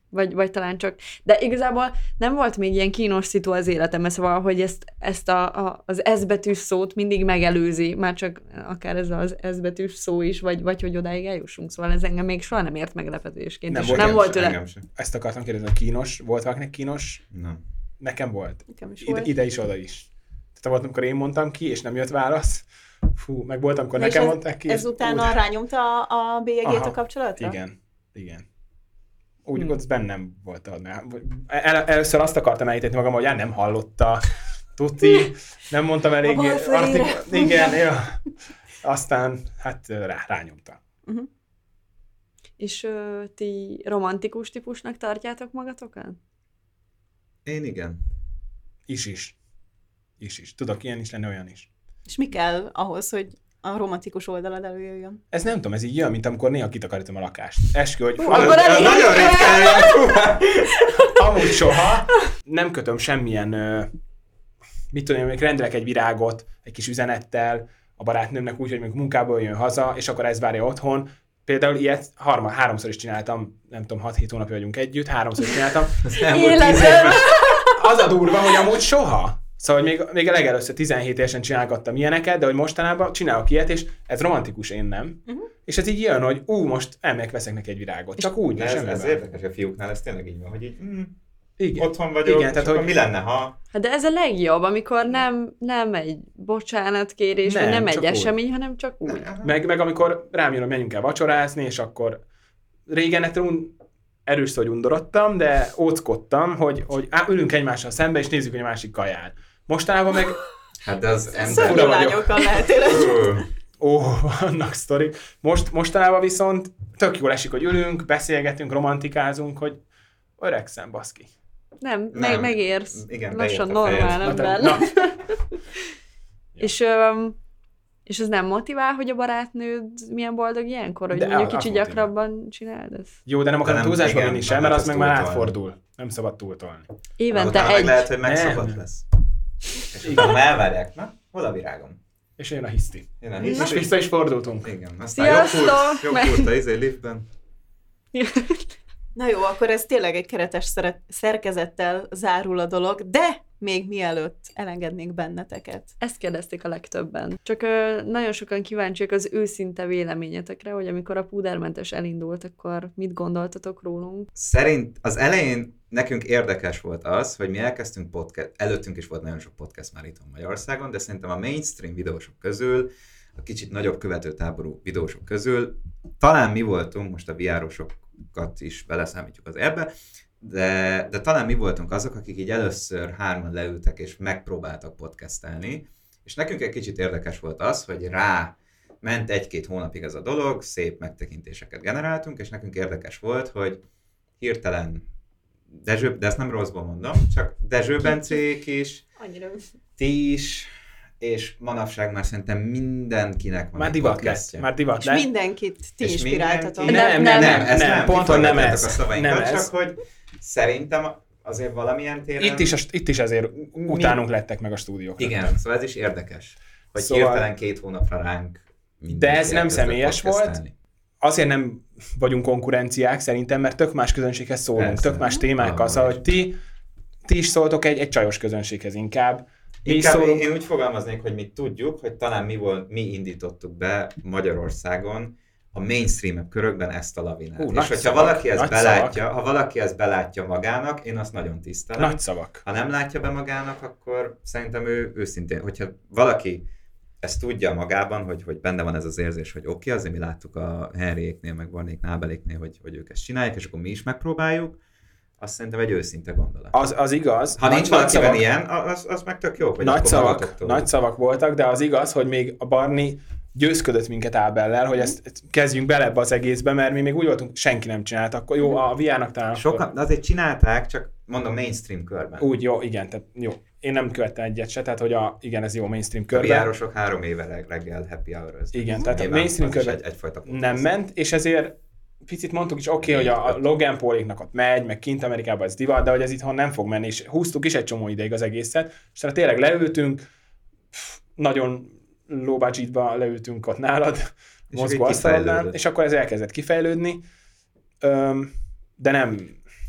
Speaker 2: vagy, vagy talán csak, de igazából nem volt még ilyen kínos szitu az életemben, szóval, hogy ezt, ezt a, a, az S betűs szót mindig megelőzi, már csak akár ez az S betűs szó is, vagy, vagy hogy odáig eljussunk, szóval ez engem még soha nem ért meglepetésként,
Speaker 4: Nem
Speaker 2: és
Speaker 4: volt
Speaker 2: nem
Speaker 3: engem
Speaker 2: volt
Speaker 3: se,
Speaker 2: tőle
Speaker 3: engem se.
Speaker 4: Ezt akartam kérdezni, hogy kínos, volt valakinek kínos?
Speaker 3: Nem.
Speaker 4: Nekem volt.
Speaker 1: Nekem is
Speaker 4: Ide,
Speaker 1: volt.
Speaker 4: ide is, oda is. Tehát volt, amikor én mondtam ki, és nem jött válasz. Fú, meg volt, amikor
Speaker 1: Na, és
Speaker 4: nekem
Speaker 1: ez-
Speaker 4: mondták ki. és
Speaker 1: Ezután
Speaker 4: úgy-
Speaker 1: a rányomta a, a bélyegét
Speaker 4: Aha,
Speaker 1: a kapcsolatra?
Speaker 4: Igen, igen. Úgy hmm. az bennem volt az, mert el, először azt akartam elítetni magam, hogy á, nem hallotta, tuti, nem mondtam elég.
Speaker 1: bal fülére.
Speaker 4: igen, ja. Aztán hát rá, rányomta.
Speaker 2: És ö, ti romantikus típusnak tartjátok magatokat?
Speaker 3: Én igen.
Speaker 4: Is is. Is is. Tudok ilyen is lenni, olyan is.
Speaker 1: És mi kell ahhoz, hogy a romantikus oldalad előjöjjön?
Speaker 4: Ez nem tudom, ez így jön, mint amikor néha kitakarítom a lakást. Eskü, hogy... Hú,
Speaker 2: akkor elég-
Speaker 4: nagyon ritkán jön. Amúgy soha. Nem kötöm semmilyen, ö, mit tudom én, mondjuk rendelek egy virágot, egy kis üzenettel a barátnőmnek úgy, hogy mondjuk munkából jön haza, és akkor ez várja otthon. Például ilyet harma, háromszor is csináltam, nem tudom, 6-7 hónapja vagyunk együtt, háromszor is csináltam.
Speaker 3: Az elmúlt tíz
Speaker 2: Életem!
Speaker 4: Az a durva, hogy amúgy soha. Szóval hogy még, még a legelőször 17 évesen csinálgattam ilyeneket, de hogy mostanában csinálok ilyet, és ez romantikus, én nem. Uh-huh. És ez így jön, hogy ú, most elmegyek, veszek neki egy virágot. Csak úgy,
Speaker 3: De ez,
Speaker 4: semmivel.
Speaker 3: ez érdekes a fiúknál, ez tényleg így van, hogy így mm,
Speaker 4: Igen.
Speaker 3: otthon vagyok,
Speaker 4: Igen,
Speaker 3: Igen,
Speaker 4: tehát,
Speaker 3: tehát, akkor
Speaker 4: hogy-
Speaker 3: mi lenne, ha...
Speaker 2: Hát de ez a legjobb, amikor nem, nem egy bocsánatkérés, nem, vagy
Speaker 4: Nem,
Speaker 2: nem
Speaker 4: csak
Speaker 2: egy
Speaker 4: úgy.
Speaker 2: esemény, hanem csak úgy.
Speaker 4: Meg, meg amikor rám jön, hogy menjünk el vacsorázni, és akkor régen ettől un... erős szó, hogy undorodtam, de óckodtam, hogy, hogy á, ülünk egymással szembe, és nézzük, hogy a másik kaján. Mostanában meg
Speaker 3: Hát de az
Speaker 1: Szörnyű
Speaker 4: Fura
Speaker 3: ember...
Speaker 4: vagyok.
Speaker 1: lányokkal lehetél
Speaker 3: Ö,
Speaker 4: ó, vannak sztorik. Most, mostanában viszont tök jól esik, hogy ülünk, beszélgetünk, romantikázunk, hogy öregszem, baszki.
Speaker 2: Nem, nem. Meg, megérsz.
Speaker 3: Igen,
Speaker 2: Igen, Lassan
Speaker 3: beért a
Speaker 2: normál
Speaker 3: fejed.
Speaker 4: Na,
Speaker 2: ember.
Speaker 4: te- na,
Speaker 2: És, öm, és ez nem motivál, hogy a barátnőd milyen boldog ilyenkor, hogy
Speaker 4: De
Speaker 2: mondjuk
Speaker 4: a- az
Speaker 2: kicsit
Speaker 4: motivál.
Speaker 2: gyakrabban csináld ezt?
Speaker 4: jó, de nem akarom
Speaker 3: nem,
Speaker 4: túlzásba
Speaker 3: igen,
Speaker 4: vinni sem,
Speaker 3: nem
Speaker 4: mert
Speaker 3: lehet
Speaker 4: az meg
Speaker 3: ezt
Speaker 4: már
Speaker 3: túltolni.
Speaker 4: átfordul. Nem szabad túltolni.
Speaker 2: Évente
Speaker 3: Utána meg
Speaker 2: egy.
Speaker 3: lehet, hogy
Speaker 4: Nem.
Speaker 3: megszokott lesz. És utána elvárják. Na, hol a virágom?
Speaker 4: És jön a hiszti.
Speaker 3: Én a
Speaker 4: És
Speaker 3: hiszti.
Speaker 4: vissza is fordultunk.
Speaker 3: Igen, aztán jobb
Speaker 2: Sziasztok!
Speaker 3: kurt, jobb kurt a izé liftben.
Speaker 1: Na jó, akkor ez tényleg egy keretes szere- szerkezettel zárul a dolog, de még mielőtt elengednénk benneteket.
Speaker 2: Ezt kérdezték a legtöbben. Csak ö, nagyon sokan kíváncsiak az őszinte véleményetekre, hogy amikor a púdermentes elindult, akkor mit gondoltatok rólunk?
Speaker 3: Szerint az elején nekünk érdekes volt az, hogy mi elkezdtünk podcast, előttünk is volt nagyon sok podcast már itt Magyarországon, de szerintem a mainstream videósok közül, a kicsit nagyobb követőtáború videósok közül, talán mi voltunk, most a viárosokat is beleszámítjuk az ebbe, de, de talán mi voltunk azok, akik így először hárman leültek és megpróbáltak podcastelni, és nekünk egy kicsit érdekes volt az, hogy rá ment egy-két hónapig ez a dolog, szép megtekintéseket generáltunk, és nekünk érdekes volt, hogy hirtelen Dezső, de ezt nem rosszból mondom, csak Dezső Bencék is,
Speaker 1: Annyira.
Speaker 3: ti is, és manapság már szerintem mindenkinek van
Speaker 4: Már
Speaker 3: egy
Speaker 4: divat lett.
Speaker 3: podcastja.
Speaker 4: Már divat
Speaker 1: És
Speaker 4: lett.
Speaker 1: mindenkit ti
Speaker 3: És
Speaker 1: inspiráltatok.
Speaker 3: mindenki-
Speaker 2: Nem,
Speaker 3: nem,
Speaker 2: nem,
Speaker 3: nem, ez nem,
Speaker 4: nem, pont, hogy nem ez.
Speaker 3: A szavainkat,
Speaker 4: Nem
Speaker 3: csak
Speaker 4: ez.
Speaker 3: hogy szerintem azért valamilyen téren...
Speaker 4: Itt is, a- itt is ezért utánunk lettek meg a stúdiók.
Speaker 3: Igen, szóval ez is érdekes, hogy
Speaker 4: Szóval-
Speaker 3: szóval... hirtelen két hónapra ránk mindenki
Speaker 4: De ez nem
Speaker 3: elkezdett
Speaker 4: személyes volt.
Speaker 3: podcastelni.
Speaker 4: azért nem vagyunk konkurenciák szerintem, mert tök más közönséghez szólunk,
Speaker 3: Persze.
Speaker 4: tök más témákkal,
Speaker 3: Valahol
Speaker 4: szóval,
Speaker 3: is.
Speaker 4: hogy ti, ti is szóltok egy, egy csajos közönséghez inkább. Mi
Speaker 3: Inkább
Speaker 4: szólunk,
Speaker 3: én, én úgy fogalmaznék, hogy mi tudjuk, hogy talán mi volt, mi indítottuk be Magyarországon a mainstream körökben ezt a lavinát.
Speaker 4: Ú,
Speaker 3: Ú,
Speaker 4: nagy
Speaker 3: És hogyha
Speaker 4: szavak,
Speaker 3: valaki ezt
Speaker 4: nagy
Speaker 3: belátja, ha valaki ezt belátja magának, én azt nagyon tisztelem.
Speaker 4: Nagy szavak.
Speaker 3: Ha nem látja be magának, akkor szerintem ő őszintén, hogyha valaki ezt tudja magában, hogy, hogy benne van ez az érzés, hogy oké, okay, azért mi láttuk a Henryéknél, meg Barnék Nábeléknél, hogy, hogy ők ezt csinálják, és akkor mi is megpróbáljuk, azt szerintem egy őszinte gondolat.
Speaker 4: Az, az igaz.
Speaker 3: Ha
Speaker 4: nagy-
Speaker 3: nincs
Speaker 4: nagy
Speaker 3: valakiben
Speaker 4: szavak-
Speaker 3: ilyen, az, az meg tök jó, hogy
Speaker 4: Nagy
Speaker 3: akkor
Speaker 4: szavak,
Speaker 3: magatoktól-
Speaker 4: nagy szavak voltak, de az igaz, hogy még a Barni győzködött minket Ábellel, hogy ezt ezt kezdjünk bele ebbe az egészbe, mert mi még úgy voltunk, senki nem csinált, akkor jó, a VR-nak talán akkor-
Speaker 3: Sokan, de azért csinálták, csak mondom mainstream körben.
Speaker 4: Úgy, jó, igen, tehát jó. Én nem követtem egyet se, tehát hogy a, igen, ez jó mainstream
Speaker 3: a
Speaker 4: körben.
Speaker 3: viárosok három éve reg- reggel happy hour
Speaker 4: Igen, tehát a mainstream körben
Speaker 3: egy, egyfajta
Speaker 4: nem
Speaker 3: podcast.
Speaker 4: ment, és ezért picit mondtuk is, oké, okay, hogy a a Logan Pauliknak ott megy, meg kint Amerikában ez divat, de hogy ez itthon nem fog menni, és húztuk is egy csomó ideig az egészet, és tehát tényleg leültünk, pff, nagyon lóbácsítva leültünk ott nálad,
Speaker 3: És
Speaker 4: mozgó
Speaker 3: akkor így
Speaker 4: asztalodnál,
Speaker 3: kifejlődött.
Speaker 4: és akkor ez elkezdett kifejlődni, Öm, de nem,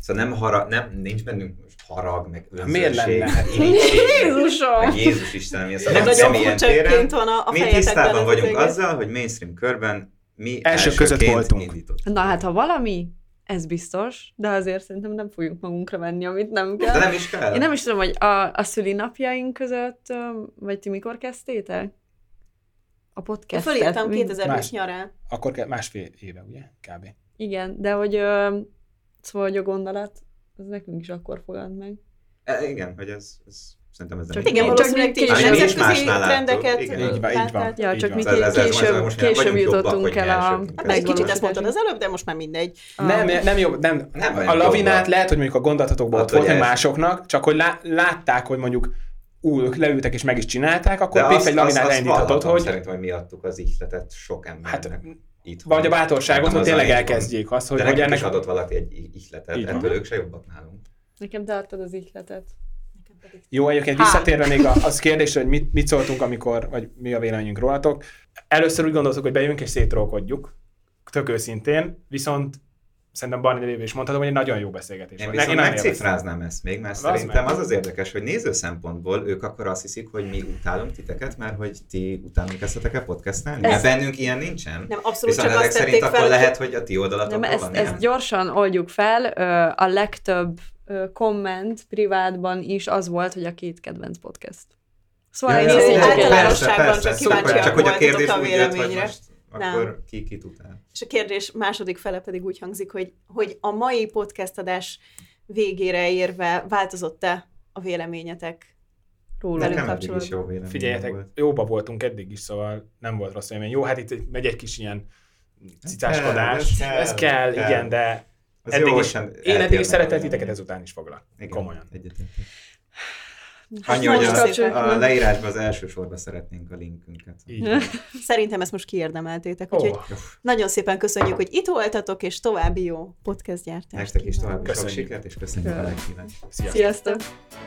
Speaker 3: Szóval nem harag, nem, nincs bennünk most harag, meg önzőség,
Speaker 4: Miért lenne?
Speaker 3: meg irítség,
Speaker 2: Jézusom!
Speaker 3: meg Jézus Istenem, ilyen
Speaker 1: De
Speaker 3: szóval nem
Speaker 1: nagyon
Speaker 3: személyen téren.
Speaker 1: furcsaként van a, a
Speaker 3: Mi
Speaker 1: fejetekben ez
Speaker 3: tisztában
Speaker 1: az
Speaker 3: vagyunk
Speaker 1: egész.
Speaker 3: azzal, hogy mainstream körben mi
Speaker 4: Elsők között
Speaker 3: elsőként
Speaker 4: voltunk.
Speaker 3: indítottunk.
Speaker 2: Na hát, ha valami, ez biztos, de azért szerintem nem fogjuk magunkra venni, amit nem
Speaker 3: De
Speaker 2: kell.
Speaker 3: nem is kell.
Speaker 2: Én nem is tudom, hogy a, a szülinapjaink között, ö, vagy ti mikor kezdtétek? A
Speaker 1: Én
Speaker 2: podcastet.
Speaker 1: Fölírtam
Speaker 2: mi-
Speaker 1: 2000-es
Speaker 4: Más.
Speaker 1: nyarán.
Speaker 4: akkor kell- másfél éve, ugye, kb.
Speaker 2: Igen, de hogy ö, szóval, hogy a gondolat, az nekünk is akkor fogant meg.
Speaker 3: E, igen, hogy ez, ez szerintem ez nem
Speaker 2: Csak
Speaker 3: így
Speaker 1: Igen,
Speaker 2: csak
Speaker 3: van.
Speaker 1: valószínűleg ti is
Speaker 2: mi is
Speaker 1: nemzetközi
Speaker 3: másnál láttuk.
Speaker 1: trendeket
Speaker 3: Igen.
Speaker 4: Így van, így van.
Speaker 1: láttál.
Speaker 2: Ja,
Speaker 4: így
Speaker 2: csak
Speaker 4: van.
Speaker 2: mi
Speaker 3: Ez- ez- ez
Speaker 2: később,
Speaker 3: most nem
Speaker 2: később
Speaker 3: vagyunk jobbak,
Speaker 2: jutottunk
Speaker 3: hogy mi
Speaker 2: el a...
Speaker 3: elsők.
Speaker 1: Hát egy kicsit ezt
Speaker 2: megvalósításig.
Speaker 1: mondtad az előbb, de most már mindegy.
Speaker 4: Nem, nem jobb, nem.
Speaker 3: Nem
Speaker 4: a
Speaker 3: vagyunk
Speaker 4: lavinát
Speaker 3: jobban. Hát,
Speaker 4: lehet, hogy mondjuk a gondolatokban ott
Speaker 3: Attól
Speaker 4: volt, meg
Speaker 3: jelzi.
Speaker 4: másoknak, csak hogy lá, látták, hogy mondjuk ú, ők leültek és meg is csinálták,
Speaker 3: De
Speaker 4: akkor piff
Speaker 3: azt,
Speaker 4: egy
Speaker 3: egy azt,
Speaker 4: lavinát
Speaker 3: azt
Speaker 4: elindítatod,
Speaker 3: vallhatom, hogy...
Speaker 4: hogy
Speaker 3: szerintem, hogy mi adtuk az ihletet sok embernek.
Speaker 4: hát
Speaker 3: itthon.
Speaker 4: vagy a bátorságot,
Speaker 3: Szerintem
Speaker 4: hogy
Speaker 3: az
Speaker 4: tényleg
Speaker 3: a lényeg.
Speaker 4: elkezdjék azt,
Speaker 3: De
Speaker 4: hogy, hogy
Speaker 3: ennek...
Speaker 4: ennek
Speaker 3: is adott valaki egy i- ihletet,
Speaker 4: Így van.
Speaker 3: ettől ők se jobbak nálunk.
Speaker 2: Nekem te adtad az ihletet.
Speaker 4: Jó, egyébként
Speaker 2: Há.
Speaker 4: visszatérve még a- az kérdésre, hogy mit, mit szóltunk, amikor, vagy mi a véleményünk rólatok. Először úgy gondoltuk, hogy bejövünk és szétrólkodjuk, tök őszintén, viszont szerintem Barney nevében is mondhatom, hogy egy nagyon jó beszélgetés
Speaker 3: Én
Speaker 4: volt.
Speaker 3: viszont
Speaker 4: nagyon élveztem.
Speaker 3: megcifráznám ezt még, mert
Speaker 4: Az
Speaker 3: szerintem
Speaker 4: meg.
Speaker 3: az az érdekes, hogy néző szempontból ők akkor azt hiszik, hogy mi utálunk titeket, mert hogy ti utálni kezdtetek el podcastelni.
Speaker 2: Ez-
Speaker 3: Mert bennünk ilyen nincsen.
Speaker 1: Nem, abszolút
Speaker 3: Viszont
Speaker 1: csak
Speaker 3: ezek
Speaker 1: azt tették
Speaker 3: szerint
Speaker 1: fel,
Speaker 3: akkor
Speaker 1: hogy-
Speaker 3: lehet, hogy a ti
Speaker 2: Nem,
Speaker 3: oldalatokon
Speaker 2: ezt,
Speaker 3: van ilyen.
Speaker 2: ezt gyorsan oldjuk fel. Ö, A legtöbb ö, komment privátban is az volt, hogy a két kedvenc podcast. Szóval
Speaker 1: Ja,
Speaker 2: én
Speaker 1: ja,
Speaker 2: ezt
Speaker 1: ja, ja,
Speaker 2: így kell-
Speaker 1: általános- általánosságban
Speaker 3: persze,
Speaker 1: csak
Speaker 3: persze, szuper,
Speaker 1: kíváncsiak
Speaker 3: Csak hogy a
Speaker 1: voltatok
Speaker 3: kérdés
Speaker 1: a
Speaker 3: úgy jött, hogy
Speaker 1: véleményre.
Speaker 3: most
Speaker 1: Nem.
Speaker 3: akkor ki kit utál.
Speaker 1: És a kérdés második fele pedig úgy hangzik, hogy, hogy a mai podcast adás végére érve változott-e a véleményetek?
Speaker 2: Rólunk.
Speaker 1: Velünk
Speaker 3: Nekem eddig is
Speaker 1: kapcsolatban.
Speaker 3: jó véleményem
Speaker 4: Figyeljetek,
Speaker 3: volt.
Speaker 4: jóba voltunk eddig is, szóval nem volt rossz élmény. Jó, hát itt megy egy kis ilyen
Speaker 3: Ez
Speaker 4: cicáskodás. Ez
Speaker 3: kell,
Speaker 4: kell,
Speaker 3: ez
Speaker 4: ez kell,
Speaker 3: kell.
Speaker 4: igen, de
Speaker 3: Ez
Speaker 4: eddig
Speaker 3: jó,
Speaker 4: is,
Speaker 3: sem
Speaker 4: én eddig
Speaker 3: eltérnek
Speaker 4: is szeretett
Speaker 3: a-
Speaker 4: titeket, ezután is foglak.
Speaker 3: Igen,
Speaker 4: Komolyan.
Speaker 3: egyetértek.
Speaker 2: Hát
Speaker 3: Annyi,
Speaker 1: most
Speaker 3: hogy
Speaker 2: kapcsoljuk
Speaker 3: a, a
Speaker 2: meg.
Speaker 3: leírásban az első sorba szeretnénk a linkünket.
Speaker 4: Így van.
Speaker 1: Szerintem ezt most kiérdemeltétek,
Speaker 4: Ó,
Speaker 1: úgyhogy nagyon szépen köszönjük, hogy itt voltatok, és további jó podcast gyártást.
Speaker 3: Nektek is
Speaker 1: kívánunk.
Speaker 3: további sok
Speaker 4: Köszönjük.
Speaker 3: sikert, és köszönjük a
Speaker 2: Köszönjük.
Speaker 3: meghívást.
Speaker 4: sziasztok.
Speaker 2: Sziasztok!